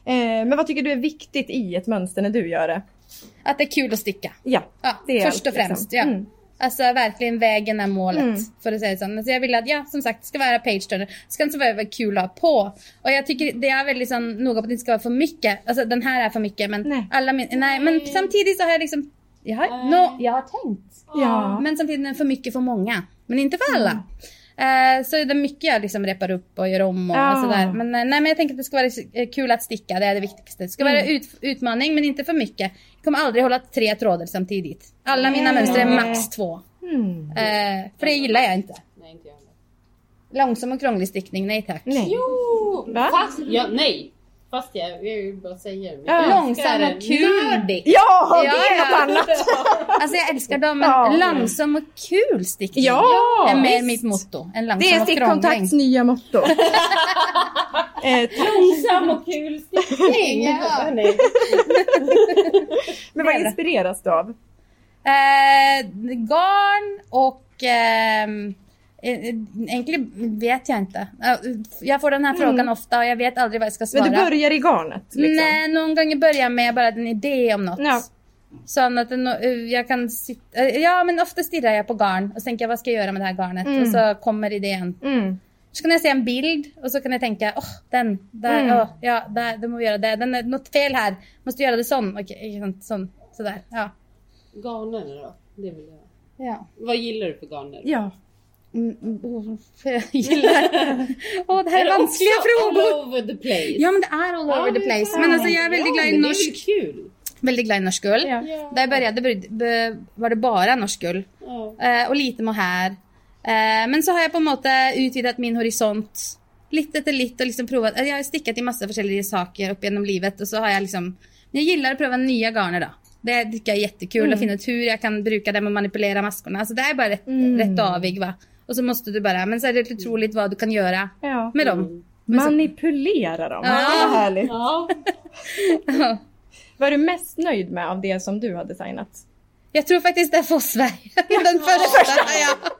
[SPEAKER 2] Eh, men vad tycker du är viktigt i ett mönster när du gör det?
[SPEAKER 4] Att det är kul att sticka.
[SPEAKER 2] Ja,
[SPEAKER 4] Ja,
[SPEAKER 2] det är
[SPEAKER 4] först och
[SPEAKER 2] allt, liksom.
[SPEAKER 4] främst. Ja.
[SPEAKER 2] Mm.
[SPEAKER 4] Alltså verkligen vägen är målet.
[SPEAKER 2] Mm.
[SPEAKER 4] För att säga så. Alltså, jag vill att, ja som sagt, det ska vara page turner. Det ska inte vara kul att ha på. Och jag tycker det är väldigt sån, noga på att det inte ska vara för mycket. Alltså den här är för mycket men
[SPEAKER 2] Nej.
[SPEAKER 4] alla min- nej men samtidigt så har jag liksom, jag har, nå- jag har tänkt.
[SPEAKER 2] Mm. ja.
[SPEAKER 4] Men samtidigt är den för mycket för många. Men inte för alla. Eh, så är det är mycket jag liksom repar upp och gör om och,
[SPEAKER 2] Ja.
[SPEAKER 4] och sådär. Men, eh, nej, men jag tänker att det ska vara eh, kul att sticka, det är det viktigaste. Det ska vara ut, utmaning men inte för mycket. Jag kommer aldrig hålla tre trådar samtidigt. Alla mina mönster är max två.
[SPEAKER 2] Mm.
[SPEAKER 4] Eh, för det gillar jag inte.
[SPEAKER 9] Nej inte jag heller.
[SPEAKER 4] Långsam och krånglig stickning, nej tack.
[SPEAKER 2] Nej.
[SPEAKER 9] Jo!
[SPEAKER 2] Va?
[SPEAKER 9] Fast, ja, nej! Fast jag, jag vill bara säga det.
[SPEAKER 2] Ja.
[SPEAKER 9] Jag älskar
[SPEAKER 4] Långsam
[SPEAKER 9] den.
[SPEAKER 4] och kul. Nördig.
[SPEAKER 2] Ja, det
[SPEAKER 4] Ja,
[SPEAKER 2] är
[SPEAKER 4] ja.
[SPEAKER 2] något annat.
[SPEAKER 4] Alltså jag älskar dem men
[SPEAKER 2] Ja.
[SPEAKER 4] långsam och kul stickning.
[SPEAKER 2] Ja,
[SPEAKER 4] är mer
[SPEAKER 2] visst.
[SPEAKER 4] mitt motto. En
[SPEAKER 2] Det
[SPEAKER 4] långsam
[SPEAKER 2] är
[SPEAKER 4] och krånglig.
[SPEAKER 2] stickkontakts nya motto. eh, tack.
[SPEAKER 9] Långsam och kul stickning!
[SPEAKER 4] Ja.
[SPEAKER 9] Nej.
[SPEAKER 2] men vad inspireras du av?
[SPEAKER 4] Eh, garn och... ehm, Eh, eh, egentligen vet jag inte. Eh, Jag får den här frågan ofta och jag vet aldrig vad jag ska svara.
[SPEAKER 2] Mm. Men du börjar i garnet? Liksom.
[SPEAKER 4] Nej, någon gång i början med bara en idé om något.
[SPEAKER 2] Ja.
[SPEAKER 4] Så att den- eh, jag kan sitta, eh, ja men ofta stirrar jag på garn och så tänker jag vad ska jag göra med det här garnet? Och så kommer idén.
[SPEAKER 2] Mm.
[SPEAKER 4] Så kan jag se en bild och så kan jag tänka, åh den, där, åh, ja där, då måste vi göra det. Den är något fel här, måste göra det sån. Okej, sån, sådär. Ja.
[SPEAKER 9] Garner då? Det vill jag.
[SPEAKER 4] ja.
[SPEAKER 9] Vad gillar du för garner?
[SPEAKER 2] Ja.
[SPEAKER 4] Mm, oh, jag gillar... Åh, det här är vanskliga
[SPEAKER 9] också
[SPEAKER 4] frågor!
[SPEAKER 9] All over the place.
[SPEAKER 4] Ja, men det är all over the place. Men alltså, jag är väldigt glad i
[SPEAKER 9] men
[SPEAKER 4] norsk,
[SPEAKER 9] Det är väl kul?
[SPEAKER 4] väldigt glad i norsk ull. Där jag började bryd- be- var det bara norsk ull.
[SPEAKER 9] Ja.
[SPEAKER 4] Eh, och lite mohair. Eh, men så har jag på en måte utvidat min horisont. Lite efter lite och liksom provat. eh, Jag har stickat i massa olika saker upp genom livet och så har jag liksom. Jag gillar att pröva nya garner då. Det tycker jag är jättekul att finna ut hur jag kan bruka dem och manipulera maskorna. Alltså det är bara rätt, rätt avig va. Och så måste du bara, men så är det otroligt vad du kan göra
[SPEAKER 2] ja.
[SPEAKER 4] med dem.
[SPEAKER 2] Manipulera dem. Ja. Vad härligt.
[SPEAKER 9] ja.
[SPEAKER 2] Vad är du mest nöjd med av det som du har designat?
[SPEAKER 4] Jag tror faktiskt det är Fossberg. Den första. Ja. Jag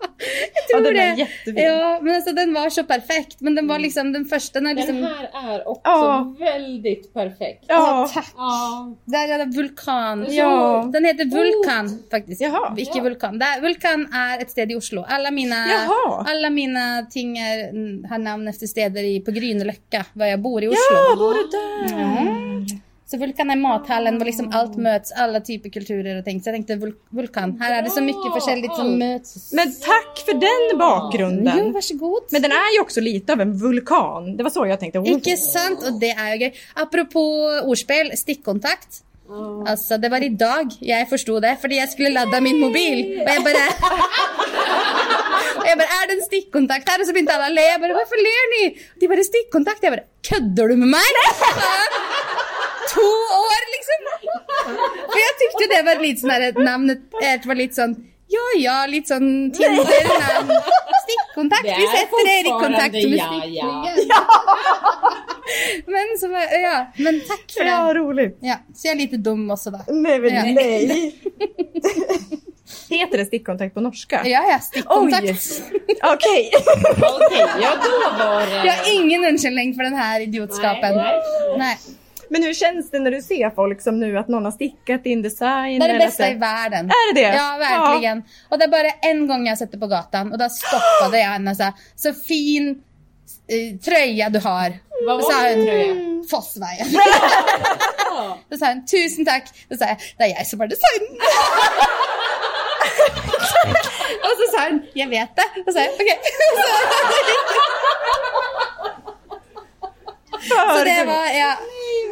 [SPEAKER 2] Ja,
[SPEAKER 4] tror
[SPEAKER 2] den är
[SPEAKER 4] det.
[SPEAKER 2] jättefin.
[SPEAKER 4] Ja, men alltså den var så perfekt. Men den var liksom den första. När liksom,
[SPEAKER 9] Den här är också
[SPEAKER 2] Ja.
[SPEAKER 9] väldigt perfekt.
[SPEAKER 2] Ja.
[SPEAKER 9] Ja.
[SPEAKER 4] Där är Oh. det vulkan.
[SPEAKER 2] Ja.
[SPEAKER 4] Den heter Vulkan faktiskt.
[SPEAKER 2] Jaha.
[SPEAKER 4] Icke vulkan. Där, vulkan är ett städ i Oslo. Alla mina,
[SPEAKER 2] Jaha.
[SPEAKER 4] alla mina ting är, mm, har namn efter städer i, på Grünerlöcka, var jag bor i
[SPEAKER 2] Ja,
[SPEAKER 4] Oslo.
[SPEAKER 2] bor du där?
[SPEAKER 4] Mm. Så Vulkan är mathallen var liksom allt möts, alla typer kulturer och tänkt. Så jag tänkte vul- Vulkan, här är det så mycket försäljligt
[SPEAKER 3] Ah.
[SPEAKER 4] som möts.
[SPEAKER 2] Men tack för den
[SPEAKER 4] Jo,
[SPEAKER 2] bakgrunden.
[SPEAKER 4] varsågod.
[SPEAKER 2] Men den är ju också lite av en vulkan. Det var så jag tänkte.
[SPEAKER 4] Icke sant, och det är ju gøy. Apropå ordspel, stickkontakt.
[SPEAKER 3] Ah.
[SPEAKER 4] Alltså det var idag jag förstod det, för jag skulle ladda min mobil. Och jag bara... och jag bara, är det en stickkontakt här? Och så började alla le. Jag bara, varför ler ni? De bara, stickkontakt. Jag bara, köddar du med mig? Två år liksom. För jag tyckte det var lite sån här, namnet ert var lite sån, ja ja, lite sån Tinder-namn. Stickkontakt,
[SPEAKER 9] Det
[SPEAKER 4] vi sätter er i kontakt med stick.
[SPEAKER 9] ja, ja.
[SPEAKER 4] Men, så, var- ja, men tack för
[SPEAKER 2] Ja,
[SPEAKER 4] det.
[SPEAKER 2] roligt.
[SPEAKER 4] Ja, så jag är lite dum också då.
[SPEAKER 2] Nej, men
[SPEAKER 4] Ja.
[SPEAKER 2] nej. Heter det stickkontakt på norska?
[SPEAKER 4] Ja, ja, stickkontakt.
[SPEAKER 2] Okej.
[SPEAKER 3] Okej, ja då var det...
[SPEAKER 4] Jag har ingen undskyldning för den här idiotskapen.
[SPEAKER 3] Nej,
[SPEAKER 4] Nej.
[SPEAKER 2] Men hur känns det när du ser folk som nu att någon har stickat din design?
[SPEAKER 4] Det är det
[SPEAKER 2] eller
[SPEAKER 4] bästa
[SPEAKER 2] att
[SPEAKER 4] i världen.
[SPEAKER 2] Är det det?
[SPEAKER 4] Ja, verkligen. Och det är bara en gång jag sätter på gatan och då stoppade jag henne och sa, så fin eh, tröja du har.
[SPEAKER 3] Vad
[SPEAKER 4] Och så
[SPEAKER 3] var
[SPEAKER 4] har
[SPEAKER 3] det
[SPEAKER 4] hon-
[SPEAKER 3] tror jag?
[SPEAKER 4] Fossvaja.
[SPEAKER 3] Ja.
[SPEAKER 4] Då sa han tusen tack. Då sa jag, det är jag som har designen. och så sa han, jag vet det. Och så sa jag, okej.
[SPEAKER 2] Ja,
[SPEAKER 4] så det var, ja.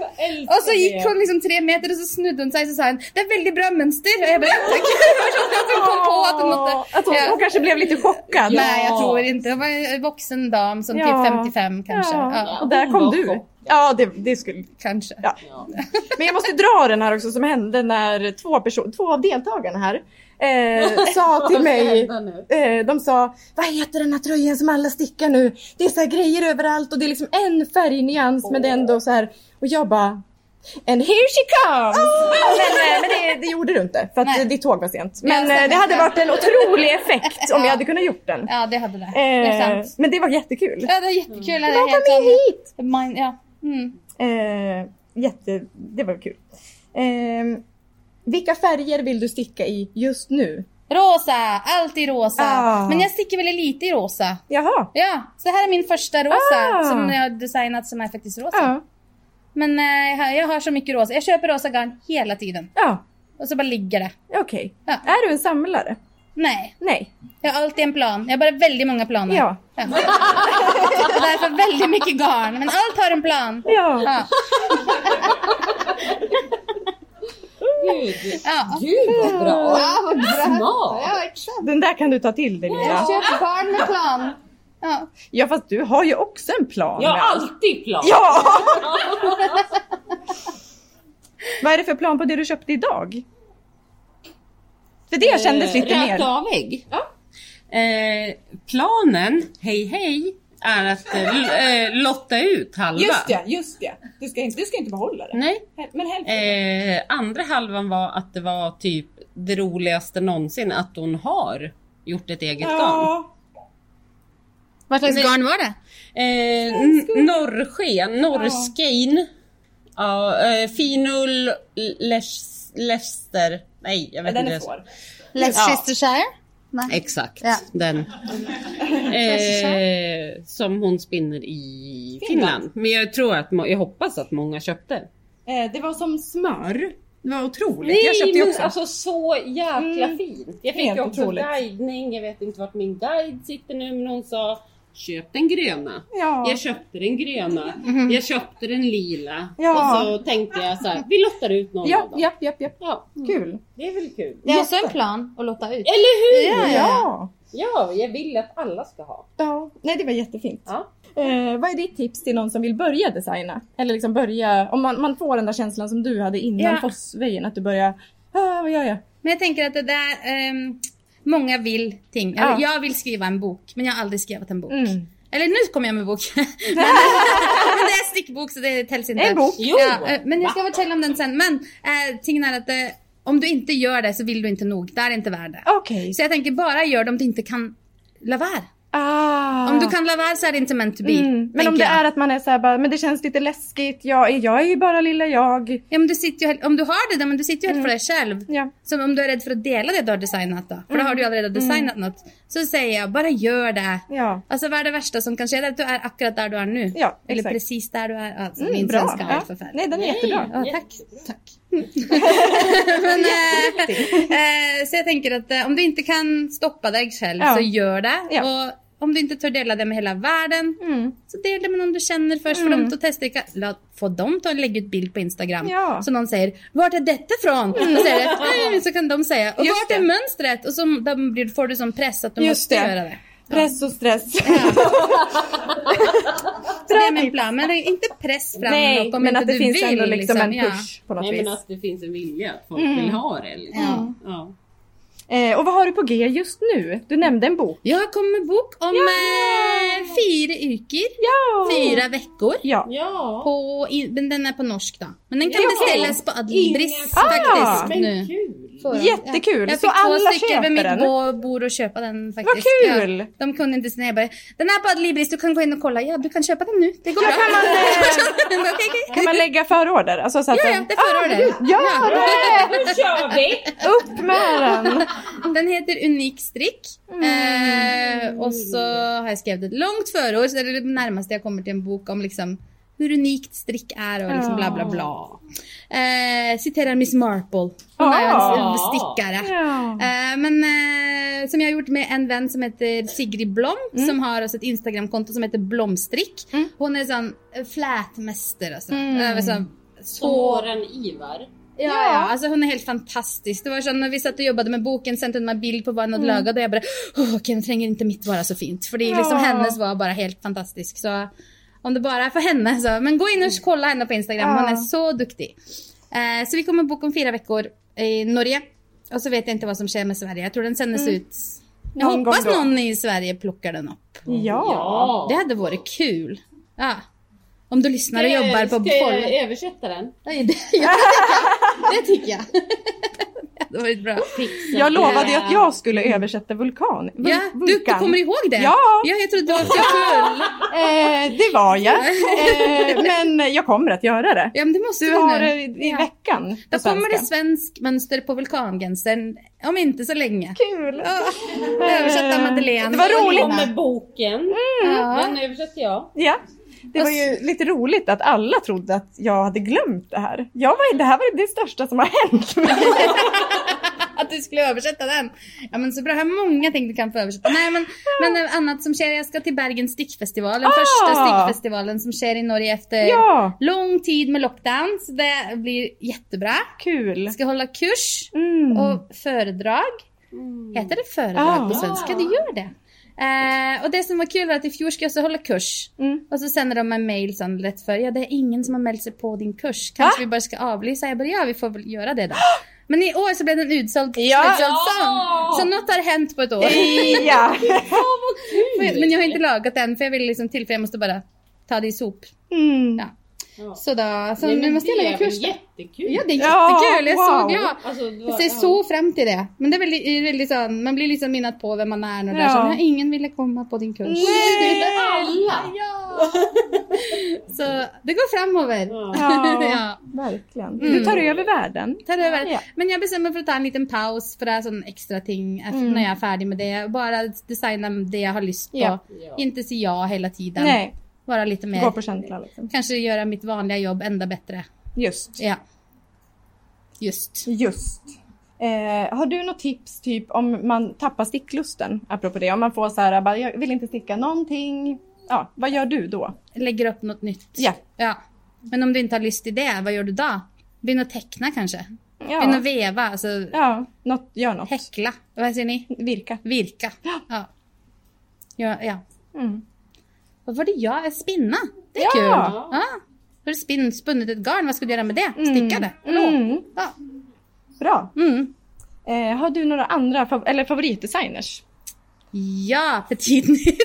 [SPEAKER 3] Jag älskar
[SPEAKER 4] Och så gick
[SPEAKER 3] det.
[SPEAKER 4] hon liksom tre meter och så snudde hon sig och så sa han, det är väldigt bra mönster. Och jag bara, "Ja, tack. Att hon kom på att hon måste...
[SPEAKER 2] Att hon,
[SPEAKER 4] Ja.
[SPEAKER 2] hon kanske blev lite chockad.
[SPEAKER 4] Nej, jag tror inte. Det var en vuxen dam som
[SPEAKER 2] Ja.
[SPEAKER 4] typ 55 kanske. Ja.
[SPEAKER 2] Ja. Och där kom
[SPEAKER 3] Hon var
[SPEAKER 2] du.
[SPEAKER 3] chockad.
[SPEAKER 2] Ja, det, det skulle...
[SPEAKER 4] kanske.
[SPEAKER 2] Ja.
[SPEAKER 3] Ja.
[SPEAKER 2] Men jag måste dra den här också som hände när två, person, två av deltagarna här eh, sa till mig
[SPEAKER 3] Vänta nu.
[SPEAKER 2] Eh, de sa, vad heter den här tröjan som alla stickar nu? Det är så här grejer överallt och det är liksom en färgnyans men det är ändå så här. Och jag bara, and here she comes! Men, eh, men det, det gjorde du inte för att
[SPEAKER 4] Ah! Nej.
[SPEAKER 2] ditt tåg var sent.
[SPEAKER 4] Ja,
[SPEAKER 2] Men eh, det
[SPEAKER 4] stackars
[SPEAKER 2] hade
[SPEAKER 4] jag.
[SPEAKER 2] varit en otrolig effekt om
[SPEAKER 4] Ja.
[SPEAKER 2] jag hade kunnat gjort den.
[SPEAKER 4] Ja, det hade det. det är
[SPEAKER 2] Eh,
[SPEAKER 4] sant.
[SPEAKER 2] men det var jättekul.
[SPEAKER 4] Ja, det var jättekul. Mm.
[SPEAKER 2] De kom ju hit!
[SPEAKER 4] Mine, ja. Mm.
[SPEAKER 2] Eh, jätte, det var kul. Eh, vilka färger vill du sticka i just nu?
[SPEAKER 4] Rosa, alltid rosa.
[SPEAKER 2] Ah.
[SPEAKER 4] Men jag sticker väldigt lite i rosa.
[SPEAKER 2] Jaha.
[SPEAKER 4] Ja, så det här är min första rosa
[SPEAKER 2] Ah.
[SPEAKER 4] som jag har designat som är faktiskt rosa.
[SPEAKER 2] Ja.
[SPEAKER 4] Men eh, jag har- jag har så mycket rosa. Jag köper rosa garn hela tiden.
[SPEAKER 2] Ja,
[SPEAKER 4] Och så bara ligger det.
[SPEAKER 2] okej.
[SPEAKER 4] Ja.
[SPEAKER 2] Är du en samlare?
[SPEAKER 4] Nej,
[SPEAKER 2] Nej.
[SPEAKER 4] jag har alltid en plan. Jag har bara väldigt många planer.
[SPEAKER 2] Ja.
[SPEAKER 4] ja. Och därför väldigt mycket garn. Men allt har en plan.
[SPEAKER 2] Ja.
[SPEAKER 4] Ja.
[SPEAKER 3] Gud,
[SPEAKER 4] ja.
[SPEAKER 3] gud vad bra. Smart.
[SPEAKER 4] Ja, exakt.
[SPEAKER 2] Den där kan du ta till dig
[SPEAKER 4] Jag
[SPEAKER 2] Lina.
[SPEAKER 4] köper garn med plan. Ja.
[SPEAKER 2] Ja fast du har ju också en plan.
[SPEAKER 3] Jag
[SPEAKER 2] med
[SPEAKER 3] har
[SPEAKER 2] allt.
[SPEAKER 3] alltid plan.
[SPEAKER 2] Ja! Vad är det för plan på det du köpte idag? För det kändes lite
[SPEAKER 3] Eh,
[SPEAKER 2] mer.
[SPEAKER 3] Rökavig. Eh, planen, hej hej, är att eh, l- eh, lotta ut halva.
[SPEAKER 2] just det. Du ska inte, du ska inte behålla det.
[SPEAKER 3] Nej.
[SPEAKER 2] Men hälften.
[SPEAKER 3] Eh, andra halvan var att det var typ det roligaste någonsin att hon har gjort ett eget garn.
[SPEAKER 4] Vad slags
[SPEAKER 3] Nej.
[SPEAKER 4] garn var det?
[SPEAKER 3] Eh, n- norrsken, norrskein. Ja. eh, finull, Lesch- Leicester. Nej, jag vet inte.
[SPEAKER 4] Leicestershire?
[SPEAKER 3] Exakt,
[SPEAKER 4] Ja.
[SPEAKER 3] den. Eh, som hon spinner i Finland. Men jag tror att, må- jag hoppas att många köpte.
[SPEAKER 2] Eh, det var som smör. Det var otroligt. jag
[SPEAKER 3] Nej
[SPEAKER 2] köpte ju
[SPEAKER 3] men
[SPEAKER 2] också. Mm.
[SPEAKER 3] alltså så jäkla fint. Jag fick
[SPEAKER 2] Helt
[SPEAKER 3] ju också
[SPEAKER 2] otroligt.
[SPEAKER 3] guidning, jag vet inte vart min guide sitter nu men hon sa Köp den gröna.
[SPEAKER 2] Ja. Mhm.
[SPEAKER 3] Jag köpte den gröna. Jag köpte den lila.
[SPEAKER 2] Ja.
[SPEAKER 3] Och så tänkte jag så här, vi lottar ut någon av
[SPEAKER 2] Ja,
[SPEAKER 3] dem.
[SPEAKER 2] ja, ja, ja.
[SPEAKER 3] Ja,
[SPEAKER 2] Kul.
[SPEAKER 3] det är väl kul.
[SPEAKER 4] Det är också en plan att låta ut.
[SPEAKER 3] Eller hur?
[SPEAKER 4] Ja, ja.
[SPEAKER 2] Ja.
[SPEAKER 3] Ja, jag vill att alla ska ha.
[SPEAKER 2] ja. Nej det var jättefint.
[SPEAKER 3] Ja.
[SPEAKER 2] Eh, vad är ditt tips till någon som vill börja designa? Eller liksom börja, om man, man får den där känslan som du hade innan
[SPEAKER 4] Ja.
[SPEAKER 2] Fossvejen, att du börjar, ah, vad gör jag?
[SPEAKER 4] Men jag tänker att det där, ehm, många vill ting. Eller,
[SPEAKER 2] Ja.
[SPEAKER 4] Jag vill skriva en bok, men jag har aldrig skrivit en bok.
[SPEAKER 2] Mm.
[SPEAKER 4] Eller nu kommer jag med bok. men, men det är stickbok så det tälls inte.
[SPEAKER 2] En bok.
[SPEAKER 3] Jo!
[SPEAKER 4] Ja, eh, men jag ska fortälla om den sen. Men eh, tingen är att eh, om du inte gör det så vill du inte nog. Det är inte värt det.
[SPEAKER 2] Okej.
[SPEAKER 4] Så jag tänker bara gör det om du inte kan lavar.
[SPEAKER 2] Ah.
[SPEAKER 4] Om du kan lavar så är det inte meant to be.
[SPEAKER 2] Mm. Men om
[SPEAKER 4] tänker
[SPEAKER 2] det
[SPEAKER 4] jag.
[SPEAKER 2] är att man är så här bara, men det känns lite läskigt, jag är, jag är ju bara lilla jag.
[SPEAKER 4] Ja, men du sitter ju, helt- om du har det då, men du sitter ju helt
[SPEAKER 2] Mm.
[SPEAKER 4] för dig själv.
[SPEAKER 2] Ja.
[SPEAKER 4] Som om du är rädd för att dela det du har designat då. För då
[SPEAKER 2] Mm.
[SPEAKER 4] har du ju redan designat något. Så säger jag, bara gör det.
[SPEAKER 2] Ja.
[SPEAKER 4] Alltså vad är det värsta som kan ske? Det är att du är akkurat där du är nu.
[SPEAKER 2] Ja,
[SPEAKER 4] Eller
[SPEAKER 2] exakt.
[SPEAKER 4] precis där du är. Alltså,
[SPEAKER 2] Mm,
[SPEAKER 4] min
[SPEAKER 2] bra.
[SPEAKER 4] svenska är
[SPEAKER 2] Ja.
[SPEAKER 4] helt förfärlig.
[SPEAKER 2] Nej, den är jättebra.
[SPEAKER 4] Ja, tack. tack. Men, eh, eh, så jag tänker att eh, om du inte kan stoppa dig själv
[SPEAKER 2] Ja.
[SPEAKER 4] så gör det.
[SPEAKER 2] Ja.
[SPEAKER 4] Och om du inte tör dela det med hela världen
[SPEAKER 2] Mm.
[SPEAKER 4] så dela med någon du känner först. För dem att testa. La, få dem att lägga ut bild på Instagram.
[SPEAKER 2] Ja.
[SPEAKER 4] Så någon säger Vart är detta från? Och så, är det, "Mm", så kan de säga Och
[SPEAKER 2] Just
[SPEAKER 4] vart är
[SPEAKER 2] det.
[SPEAKER 4] mönstret? Och så då blir, får du som press att du
[SPEAKER 2] Just
[SPEAKER 4] måste
[SPEAKER 2] det.
[SPEAKER 4] göra det.
[SPEAKER 2] Press och stress.
[SPEAKER 4] Så det är min plan. Men det är inte press fram
[SPEAKER 2] Nej,
[SPEAKER 4] något om
[SPEAKER 2] men
[SPEAKER 4] inte
[SPEAKER 2] att det
[SPEAKER 4] du
[SPEAKER 2] finns
[SPEAKER 4] vill,
[SPEAKER 2] ändå liksom en
[SPEAKER 4] ja.
[SPEAKER 2] push på något
[SPEAKER 3] Nej, men
[SPEAKER 2] vis. Mm.
[SPEAKER 3] att det finns en vilja att folk vill ha det. Liksom.
[SPEAKER 4] Ja.
[SPEAKER 3] Ja.
[SPEAKER 2] Eh, och vad har du på G just nu? Du nämnde en bok.
[SPEAKER 4] Jag kommer med bok om eh, fyra yrker,
[SPEAKER 2] Ja!
[SPEAKER 4] fyra veckor.
[SPEAKER 2] Ja.
[SPEAKER 3] ja.
[SPEAKER 4] På, i- men den är på norsk då. Men den kan beställas på Adlibris
[SPEAKER 2] Ah!
[SPEAKER 4] faktiskt nu. Får de.
[SPEAKER 2] Jättekul,
[SPEAKER 4] Jag
[SPEAKER 2] så
[SPEAKER 4] fick två
[SPEAKER 2] alla
[SPEAKER 4] stycken vid
[SPEAKER 2] köper
[SPEAKER 4] mitt
[SPEAKER 2] den.
[SPEAKER 4] bo- bord och köpa den faktiskt.
[SPEAKER 2] Vad kul!
[SPEAKER 4] Ja, de kunde inte snäva. Den är på Adlibris, du kan gå in och kolla. Ja, du kan köpa den nu. Det går bra.
[SPEAKER 2] kan man, eh,
[SPEAKER 4] Okej, okej.
[SPEAKER 2] Kan man lägga förorder? Alltså, så att
[SPEAKER 4] Ja, ja,
[SPEAKER 2] den-
[SPEAKER 4] det förra året.
[SPEAKER 2] Ja, det!
[SPEAKER 10] Nu kör vi!
[SPEAKER 2] Upp med den!
[SPEAKER 4] Den heter Unik Strick.
[SPEAKER 2] Mm.
[SPEAKER 4] Eh, och så har jag skrivit ett långt förord, så det är det närmaste jag kommer till en bok om liksom hur unikt strick är och liksom bla bla bla. Eh, citerar Miss Marple. Hon är ju en s- stickare. Eh, men eh, som jag har gjort med en vän som heter Sigrid Blom som har alltså ett Instagramkonto som heter Blomstrick. Hon är sån eh, flätmästare alltså. Eh, så,
[SPEAKER 9] Som åren ivar.
[SPEAKER 4] Ja, ja. Alltså hon är helt fantastisk. Det var så när vi satt och jobbade med boken, sände hon mig en bild på vad hon hade lagat och jag bara, oh, okej nu tränger inte mitt vara så fint. För det är liksom hennes var bara helt fantastisk. Så om det bara är för henne så, men gå in och kolla henne på Instagram, hon är så duktig. Eh, så vi kommer boka om fyra veckor i Norge. Och så vet jag inte vad som sker med Sverige. Jag tror den sändes ut. Jag
[SPEAKER 2] Någon gång
[SPEAKER 4] hoppas
[SPEAKER 2] då.
[SPEAKER 4] någon i Sverige plockar den upp.
[SPEAKER 2] Ja.
[SPEAKER 4] Det hade varit kul. Ja. Om du lyssnar och
[SPEAKER 9] Ska jag-
[SPEAKER 4] jobbar på
[SPEAKER 9] Ska
[SPEAKER 4] Pollen.
[SPEAKER 9] jag översätta den?
[SPEAKER 4] Nej, det, ja, det tycker jag. Det tycker jag. Det var varit bra.
[SPEAKER 2] Jag lovade ju att jag skulle översätta vulkan. Vul-
[SPEAKER 4] Ja, du, du
[SPEAKER 2] vulkan.
[SPEAKER 4] kommer ihåg det?
[SPEAKER 2] Ja.
[SPEAKER 4] ja jag trodde du var full.
[SPEAKER 2] Eh, det var jag. Eh, men jag kommer att göra det.
[SPEAKER 4] Ja, men det måste
[SPEAKER 2] Du
[SPEAKER 4] du
[SPEAKER 2] har
[SPEAKER 4] nu.
[SPEAKER 2] det i
[SPEAKER 4] Ja.
[SPEAKER 2] veckan. på
[SPEAKER 4] Då kommer det
[SPEAKER 2] svenska.
[SPEAKER 4] svensk mönster på vulkangränsen om inte så länge. Kul! Översatt av Madeleine.
[SPEAKER 2] Det var roligt.
[SPEAKER 9] Eh, Med boken.
[SPEAKER 3] Mm.
[SPEAKER 4] Ja.
[SPEAKER 9] Den översätter jag.
[SPEAKER 2] Eh, Ja. Det var ju lite roligt att alla trodde att jag hade glömt det här. Jag var, det här var det största som har hänt mig.
[SPEAKER 4] Att du skulle översätta den. Ja men så bra, här har många ting du kan få översätta. Nej men, men annat som sker, jag ska till Bergens stickfestival. Den
[SPEAKER 2] Ah!
[SPEAKER 4] första stickfestivalen som sker i Norge efter
[SPEAKER 2] Ja,
[SPEAKER 4] lång tid med lockdown. Så det blir jättebra.
[SPEAKER 2] kul.
[SPEAKER 4] Jag ska hålla kurs
[SPEAKER 2] Mm.
[SPEAKER 4] och föredrag.
[SPEAKER 9] Mm.
[SPEAKER 4] Heter det föredrag
[SPEAKER 2] Ah.
[SPEAKER 4] på svenska? Det gör det. Eh, och det som var kul var att i fjol ska jag också hålla kurs.
[SPEAKER 2] Mm.
[SPEAKER 4] Och så sänder de mig mail sån lätt för, ja det är ingen som har mält sig på din kurs.
[SPEAKER 2] Ah!
[SPEAKER 4] Kanske vi bara ska avlysa? Jag bara, ja vi får väl göra det då. Men i år så blev den utsåld
[SPEAKER 2] Ja.
[SPEAKER 4] utsåld sång. Så något har hänt på ett år.
[SPEAKER 2] Ja.
[SPEAKER 4] Men jag har inte lagat den för jag vill liksom till, för jag måste bara ta det i sop.
[SPEAKER 2] Mm.
[SPEAKER 4] Ja. Så då, så
[SPEAKER 9] Nej,
[SPEAKER 4] nu
[SPEAKER 9] men
[SPEAKER 4] måste
[SPEAKER 9] det är
[SPEAKER 4] jag lägga
[SPEAKER 9] väl
[SPEAKER 4] kurs. då.
[SPEAKER 9] jättekul.
[SPEAKER 4] Ja det är
[SPEAKER 2] Ja,
[SPEAKER 4] jättekul, jag
[SPEAKER 2] wow.
[SPEAKER 4] såg, ja.
[SPEAKER 9] Alltså, det var-
[SPEAKER 4] Jag ser
[SPEAKER 9] ja.
[SPEAKER 4] så fram till det. Men det är väldigt, det är väldigt sån, man blir liksom minnad på vem man är. Och där,
[SPEAKER 2] Ja.
[SPEAKER 4] så, "Nej, ingen ville komma på din kurs. Du vet, alla! Ja. så det går framover.
[SPEAKER 2] Ja.
[SPEAKER 4] ja.
[SPEAKER 2] Verkligen.
[SPEAKER 4] Mm.
[SPEAKER 2] Du tar över världen.
[SPEAKER 4] Tar över.
[SPEAKER 2] Ja.
[SPEAKER 4] Men jag bestämmer mig för att ta en liten paus för det är sån extra ting efter-
[SPEAKER 2] Mm.
[SPEAKER 4] när jag är färdig med det. Bara designa det jag har lust på.
[SPEAKER 2] Ja.
[SPEAKER 3] Mm.
[SPEAKER 4] Inte se ja hela tiden.
[SPEAKER 2] Nej,
[SPEAKER 4] Vara lite
[SPEAKER 2] gå
[SPEAKER 4] mer,
[SPEAKER 2] på känsla liksom.
[SPEAKER 4] kanske göra mitt vanliga jobb ända bättre.
[SPEAKER 2] Just.
[SPEAKER 4] Ja. Just.
[SPEAKER 2] Just. Eh, har du något tips typ om man tappar sticklusten? Apropå det, om man får så här, bara, jag vill inte sticka någonting. Ja, vad gör du då?
[SPEAKER 4] Lägger upp något nytt.
[SPEAKER 2] Ja.
[SPEAKER 4] Ja. Men om du inte har lust i det, vad gör du då? Börja teckna kanske? Börja
[SPEAKER 2] Ja,
[SPEAKER 4] veva, alltså
[SPEAKER 2] ja något, gör något.
[SPEAKER 4] häckla. Vad säger ni?
[SPEAKER 2] Virka.
[SPEAKER 4] Virka. Ja. Ja, ja.
[SPEAKER 2] Mm.
[SPEAKER 4] Vad var det jag? Spinna. Det är
[SPEAKER 2] Ja.
[SPEAKER 4] kul. Ja. Har du spinn, spunnit ett garn? Vad ska du göra med det? Sticka det?
[SPEAKER 2] Mm.
[SPEAKER 4] Ja.
[SPEAKER 2] Bra.
[SPEAKER 4] Mm.
[SPEAKER 2] Eh, har du några andra fav- eller favoritdesigners?
[SPEAKER 4] Ja, för tidigt.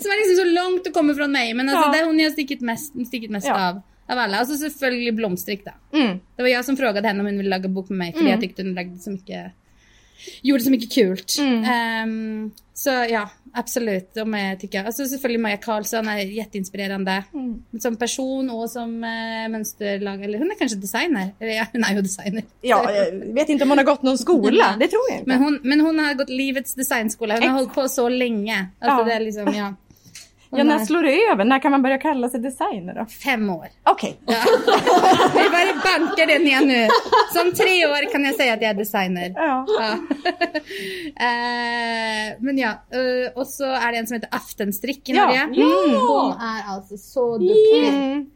[SPEAKER 4] Som är liksom så långt du kommer från mig. Men alltså,
[SPEAKER 2] Ja.
[SPEAKER 4] det är hon jag har stickit mest, stickit mest
[SPEAKER 2] Ja.
[SPEAKER 4] av. Av alla. Och så selvfølgelig blomstrik då.
[SPEAKER 2] Mm.
[SPEAKER 4] Det var jag som frågade henne om hon ville laga bok med mig för jag tyckte hon lagde så mycket, gjorde så mycket kul. Ehm, så ja, absolut. De är, tycker jag. Och så selvfølgelig Maja Karlsson är jätteinspirerande. Som person och som eh, mönsterlag, eller hon är kanske designer. Eller ja, hon är ju designer.
[SPEAKER 2] Ja, jag vet inte om hon har gått någon skola. Det tror jag inte.
[SPEAKER 4] Men hon, men hon har gått livets designskola. Hon har hållit på så länge. Alltså
[SPEAKER 2] Ja.
[SPEAKER 4] det är liksom, ja.
[SPEAKER 2] ja, när slår det över? När kan man börja kalla sig designer då?
[SPEAKER 4] Fem år.
[SPEAKER 2] Okej.
[SPEAKER 4] Ja. Jag bara bankar den igen nu. Som tre år kan jag säga att jag är designer.
[SPEAKER 2] Ja.
[SPEAKER 4] Ja. Eh, men ja, eh, och så är det en som heter Aftenstrick i
[SPEAKER 2] Ja.
[SPEAKER 4] Norge. Hon är alltså så duktig.
[SPEAKER 2] Mm.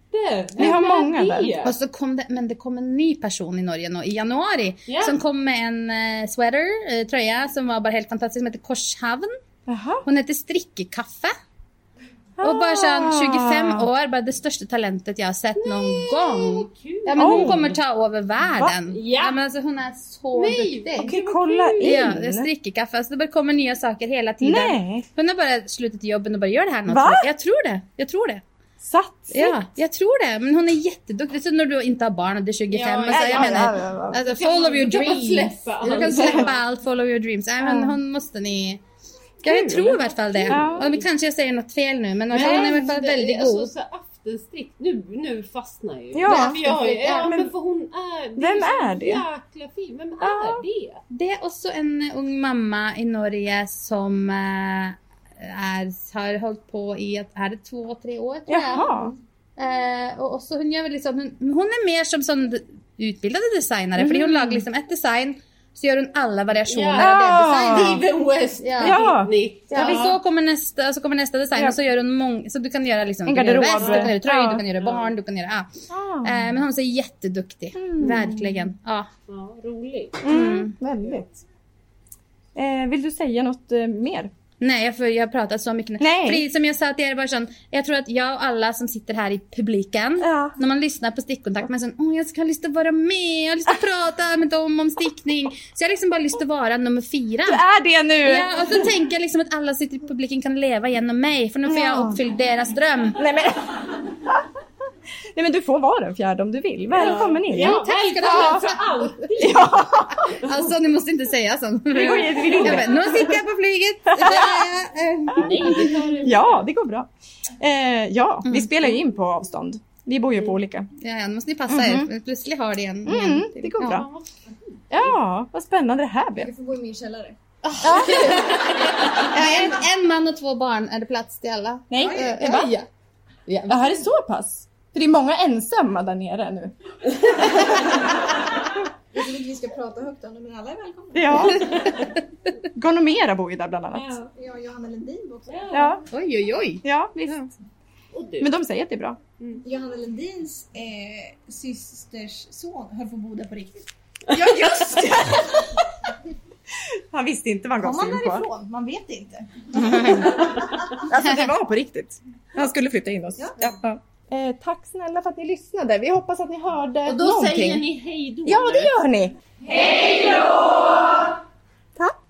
[SPEAKER 2] Ni har många där.
[SPEAKER 4] Och så kom det, men det kom en ny person i Norge nu, i januari som kom med en eh, sweater, eh, tröja som var bara helt fantastisk som heter Korshavn.
[SPEAKER 2] Jaha.
[SPEAKER 4] Hon heter Strickekaffe. Och bara
[SPEAKER 2] Ah.
[SPEAKER 4] sån 25 år, bara det största talentet jag har sett någon gång. Ja, men hon
[SPEAKER 2] Oj.
[SPEAKER 4] kommer ta över världen.
[SPEAKER 9] Ja.
[SPEAKER 4] men alltså, hon är så duktig.
[SPEAKER 2] Okej, kolla in.
[SPEAKER 4] Ja, det är strickekaffe. Alltså det bara kommer nya saker hela tiden.
[SPEAKER 2] Nej.
[SPEAKER 4] Hon har bara slutat jobben och bara gör det här något.
[SPEAKER 2] Va?
[SPEAKER 4] Jag tror det. Jag tror det.
[SPEAKER 2] Satt.
[SPEAKER 4] Ja, jag tror det. Men hon är jätteduktig. Så när du inte har barn och du är 25. alltså, jag menar, alltså, follow your
[SPEAKER 2] kan man
[SPEAKER 4] dreams.
[SPEAKER 2] släppa
[SPEAKER 4] Du kan
[SPEAKER 2] allt.
[SPEAKER 4] släppa allt, follow your dreams. Nej, men hon måste ni... Ja, jag tror i alla fall det.
[SPEAKER 2] Ja.
[SPEAKER 4] Och men kanske jag säger något fel nu, men Alltså, hon är i alla fall väldigt
[SPEAKER 9] alltså,
[SPEAKER 4] god.
[SPEAKER 9] Så afterstrikt, nu, nu fastnar ju.
[SPEAKER 2] Ja,
[SPEAKER 9] för jag,
[SPEAKER 2] afterstrikt,
[SPEAKER 9] ja,
[SPEAKER 2] ja,
[SPEAKER 9] men,
[SPEAKER 2] men-
[SPEAKER 9] för hon är... det
[SPEAKER 2] Vem
[SPEAKER 9] så
[SPEAKER 2] är det?
[SPEAKER 9] Jäkla fin. Vem är det?
[SPEAKER 4] Det är också en eh, ung mamma i Norge som eh, är, har hållit på i ett, är det två, tre år tror jag.
[SPEAKER 2] Jaha.
[SPEAKER 4] Eh, och också, hon, gör väl liksom, hon, hon är mer som sån utbildade designare, för
[SPEAKER 2] Mm.
[SPEAKER 4] hon lagar liksom ett design så gör hon alla variationer av den designen.
[SPEAKER 9] Even West.
[SPEAKER 4] Ja.
[SPEAKER 2] Ja.
[SPEAKER 9] Britney.
[SPEAKER 4] Ja. Så, kommer nästa, så kommer nästa design
[SPEAKER 2] Ja.
[SPEAKER 4] och så gör hon många, så du kan göra liksom,
[SPEAKER 2] En
[SPEAKER 4] du kan göra
[SPEAKER 2] garderob.
[SPEAKER 4] väst, du kan göra tröjor,
[SPEAKER 2] Ja.
[SPEAKER 4] du kan göra barn, du kan göra, ja.
[SPEAKER 2] Ah,
[SPEAKER 4] Eh, men hon är jätteduktig, verkligen. Ja.
[SPEAKER 9] Ja, rolig.
[SPEAKER 2] mm. Väldigt. Eh, vill du säga något eh, mer?
[SPEAKER 4] Nej, jag, för jag har pratat så mycket nu.
[SPEAKER 2] Nej.
[SPEAKER 4] För det, är som jag sa till er, bara sån, jag tror att jag och alla som sitter här i publiken,
[SPEAKER 2] Ja.
[SPEAKER 4] när man lyssnar på stickkontakt, man är sån, åh jag ska ha lust att vara med, jag har lust att prata med dem om stickning. Så jag har liksom bara lust att vara nummer fyra.
[SPEAKER 2] Du är det nu!
[SPEAKER 4] Ja, och så tänker jag liksom att alla sitter i publiken kan leva genom mig, för nu får jag uppfylld deras dröm.
[SPEAKER 2] Nej, men... Nej men du får vara den fjärde om du vill. Välkommen in!
[SPEAKER 9] Ja,
[SPEAKER 4] tack ska du
[SPEAKER 9] välkommen
[SPEAKER 4] ha.
[SPEAKER 9] för allt.
[SPEAKER 4] Alltså, ni måste inte säga sånt.
[SPEAKER 2] Det går ju- det går
[SPEAKER 4] Jag
[SPEAKER 2] bra.
[SPEAKER 4] bara, nu sitter jag på flyget. Det är jag. Eh,
[SPEAKER 9] Nej, vi tar det.
[SPEAKER 2] Ja, det går bra. Eh, ja,
[SPEAKER 4] Mm.
[SPEAKER 2] vi spelar ju in på avstånd. Vi bor ju på olika.
[SPEAKER 4] Ja, ja, nu måste ni passa er. Plötsligt har det en.
[SPEAKER 2] Mhm. Mm,
[SPEAKER 4] en till.
[SPEAKER 2] det går
[SPEAKER 4] Ja.
[SPEAKER 2] bra. Ja, vad spännande det här blev.
[SPEAKER 5] får bo i min källare.
[SPEAKER 4] Ja, en, en man och två barn är det plats till alla.
[SPEAKER 2] Nej,
[SPEAKER 4] Eh,
[SPEAKER 2] va?
[SPEAKER 4] ja.
[SPEAKER 2] Det här är så pass. För det är många ensamma där nere nu.
[SPEAKER 5] Jag tycker inte vi ska prata högt om det, men alla är välkomna.
[SPEAKER 2] Ja. Gonomera bor ju där bland annat.
[SPEAKER 5] Jag och Johanna Lundin bor också.
[SPEAKER 2] Ja,
[SPEAKER 4] Oj, oj, oj.
[SPEAKER 2] ja visst.
[SPEAKER 9] Och du.
[SPEAKER 2] Men de säger att det är bra.
[SPEAKER 5] Johanna Lundins eh, systers son höll på att bo där på riktigt.
[SPEAKER 2] Han visste inte vad han gav
[SPEAKER 5] Kom
[SPEAKER 2] sig
[SPEAKER 5] han
[SPEAKER 2] in på.
[SPEAKER 5] därifrån? Man vet inte.
[SPEAKER 2] Alltså det var på riktigt. Han skulle flytta in oss.
[SPEAKER 5] Ja.
[SPEAKER 2] Eh, tack snälla för att ni lyssnade. Vi hoppas att ni hörde
[SPEAKER 9] Och då
[SPEAKER 2] någonting.
[SPEAKER 9] säger ni hej då.
[SPEAKER 2] Ja, det gör ni. Hej då! Tack.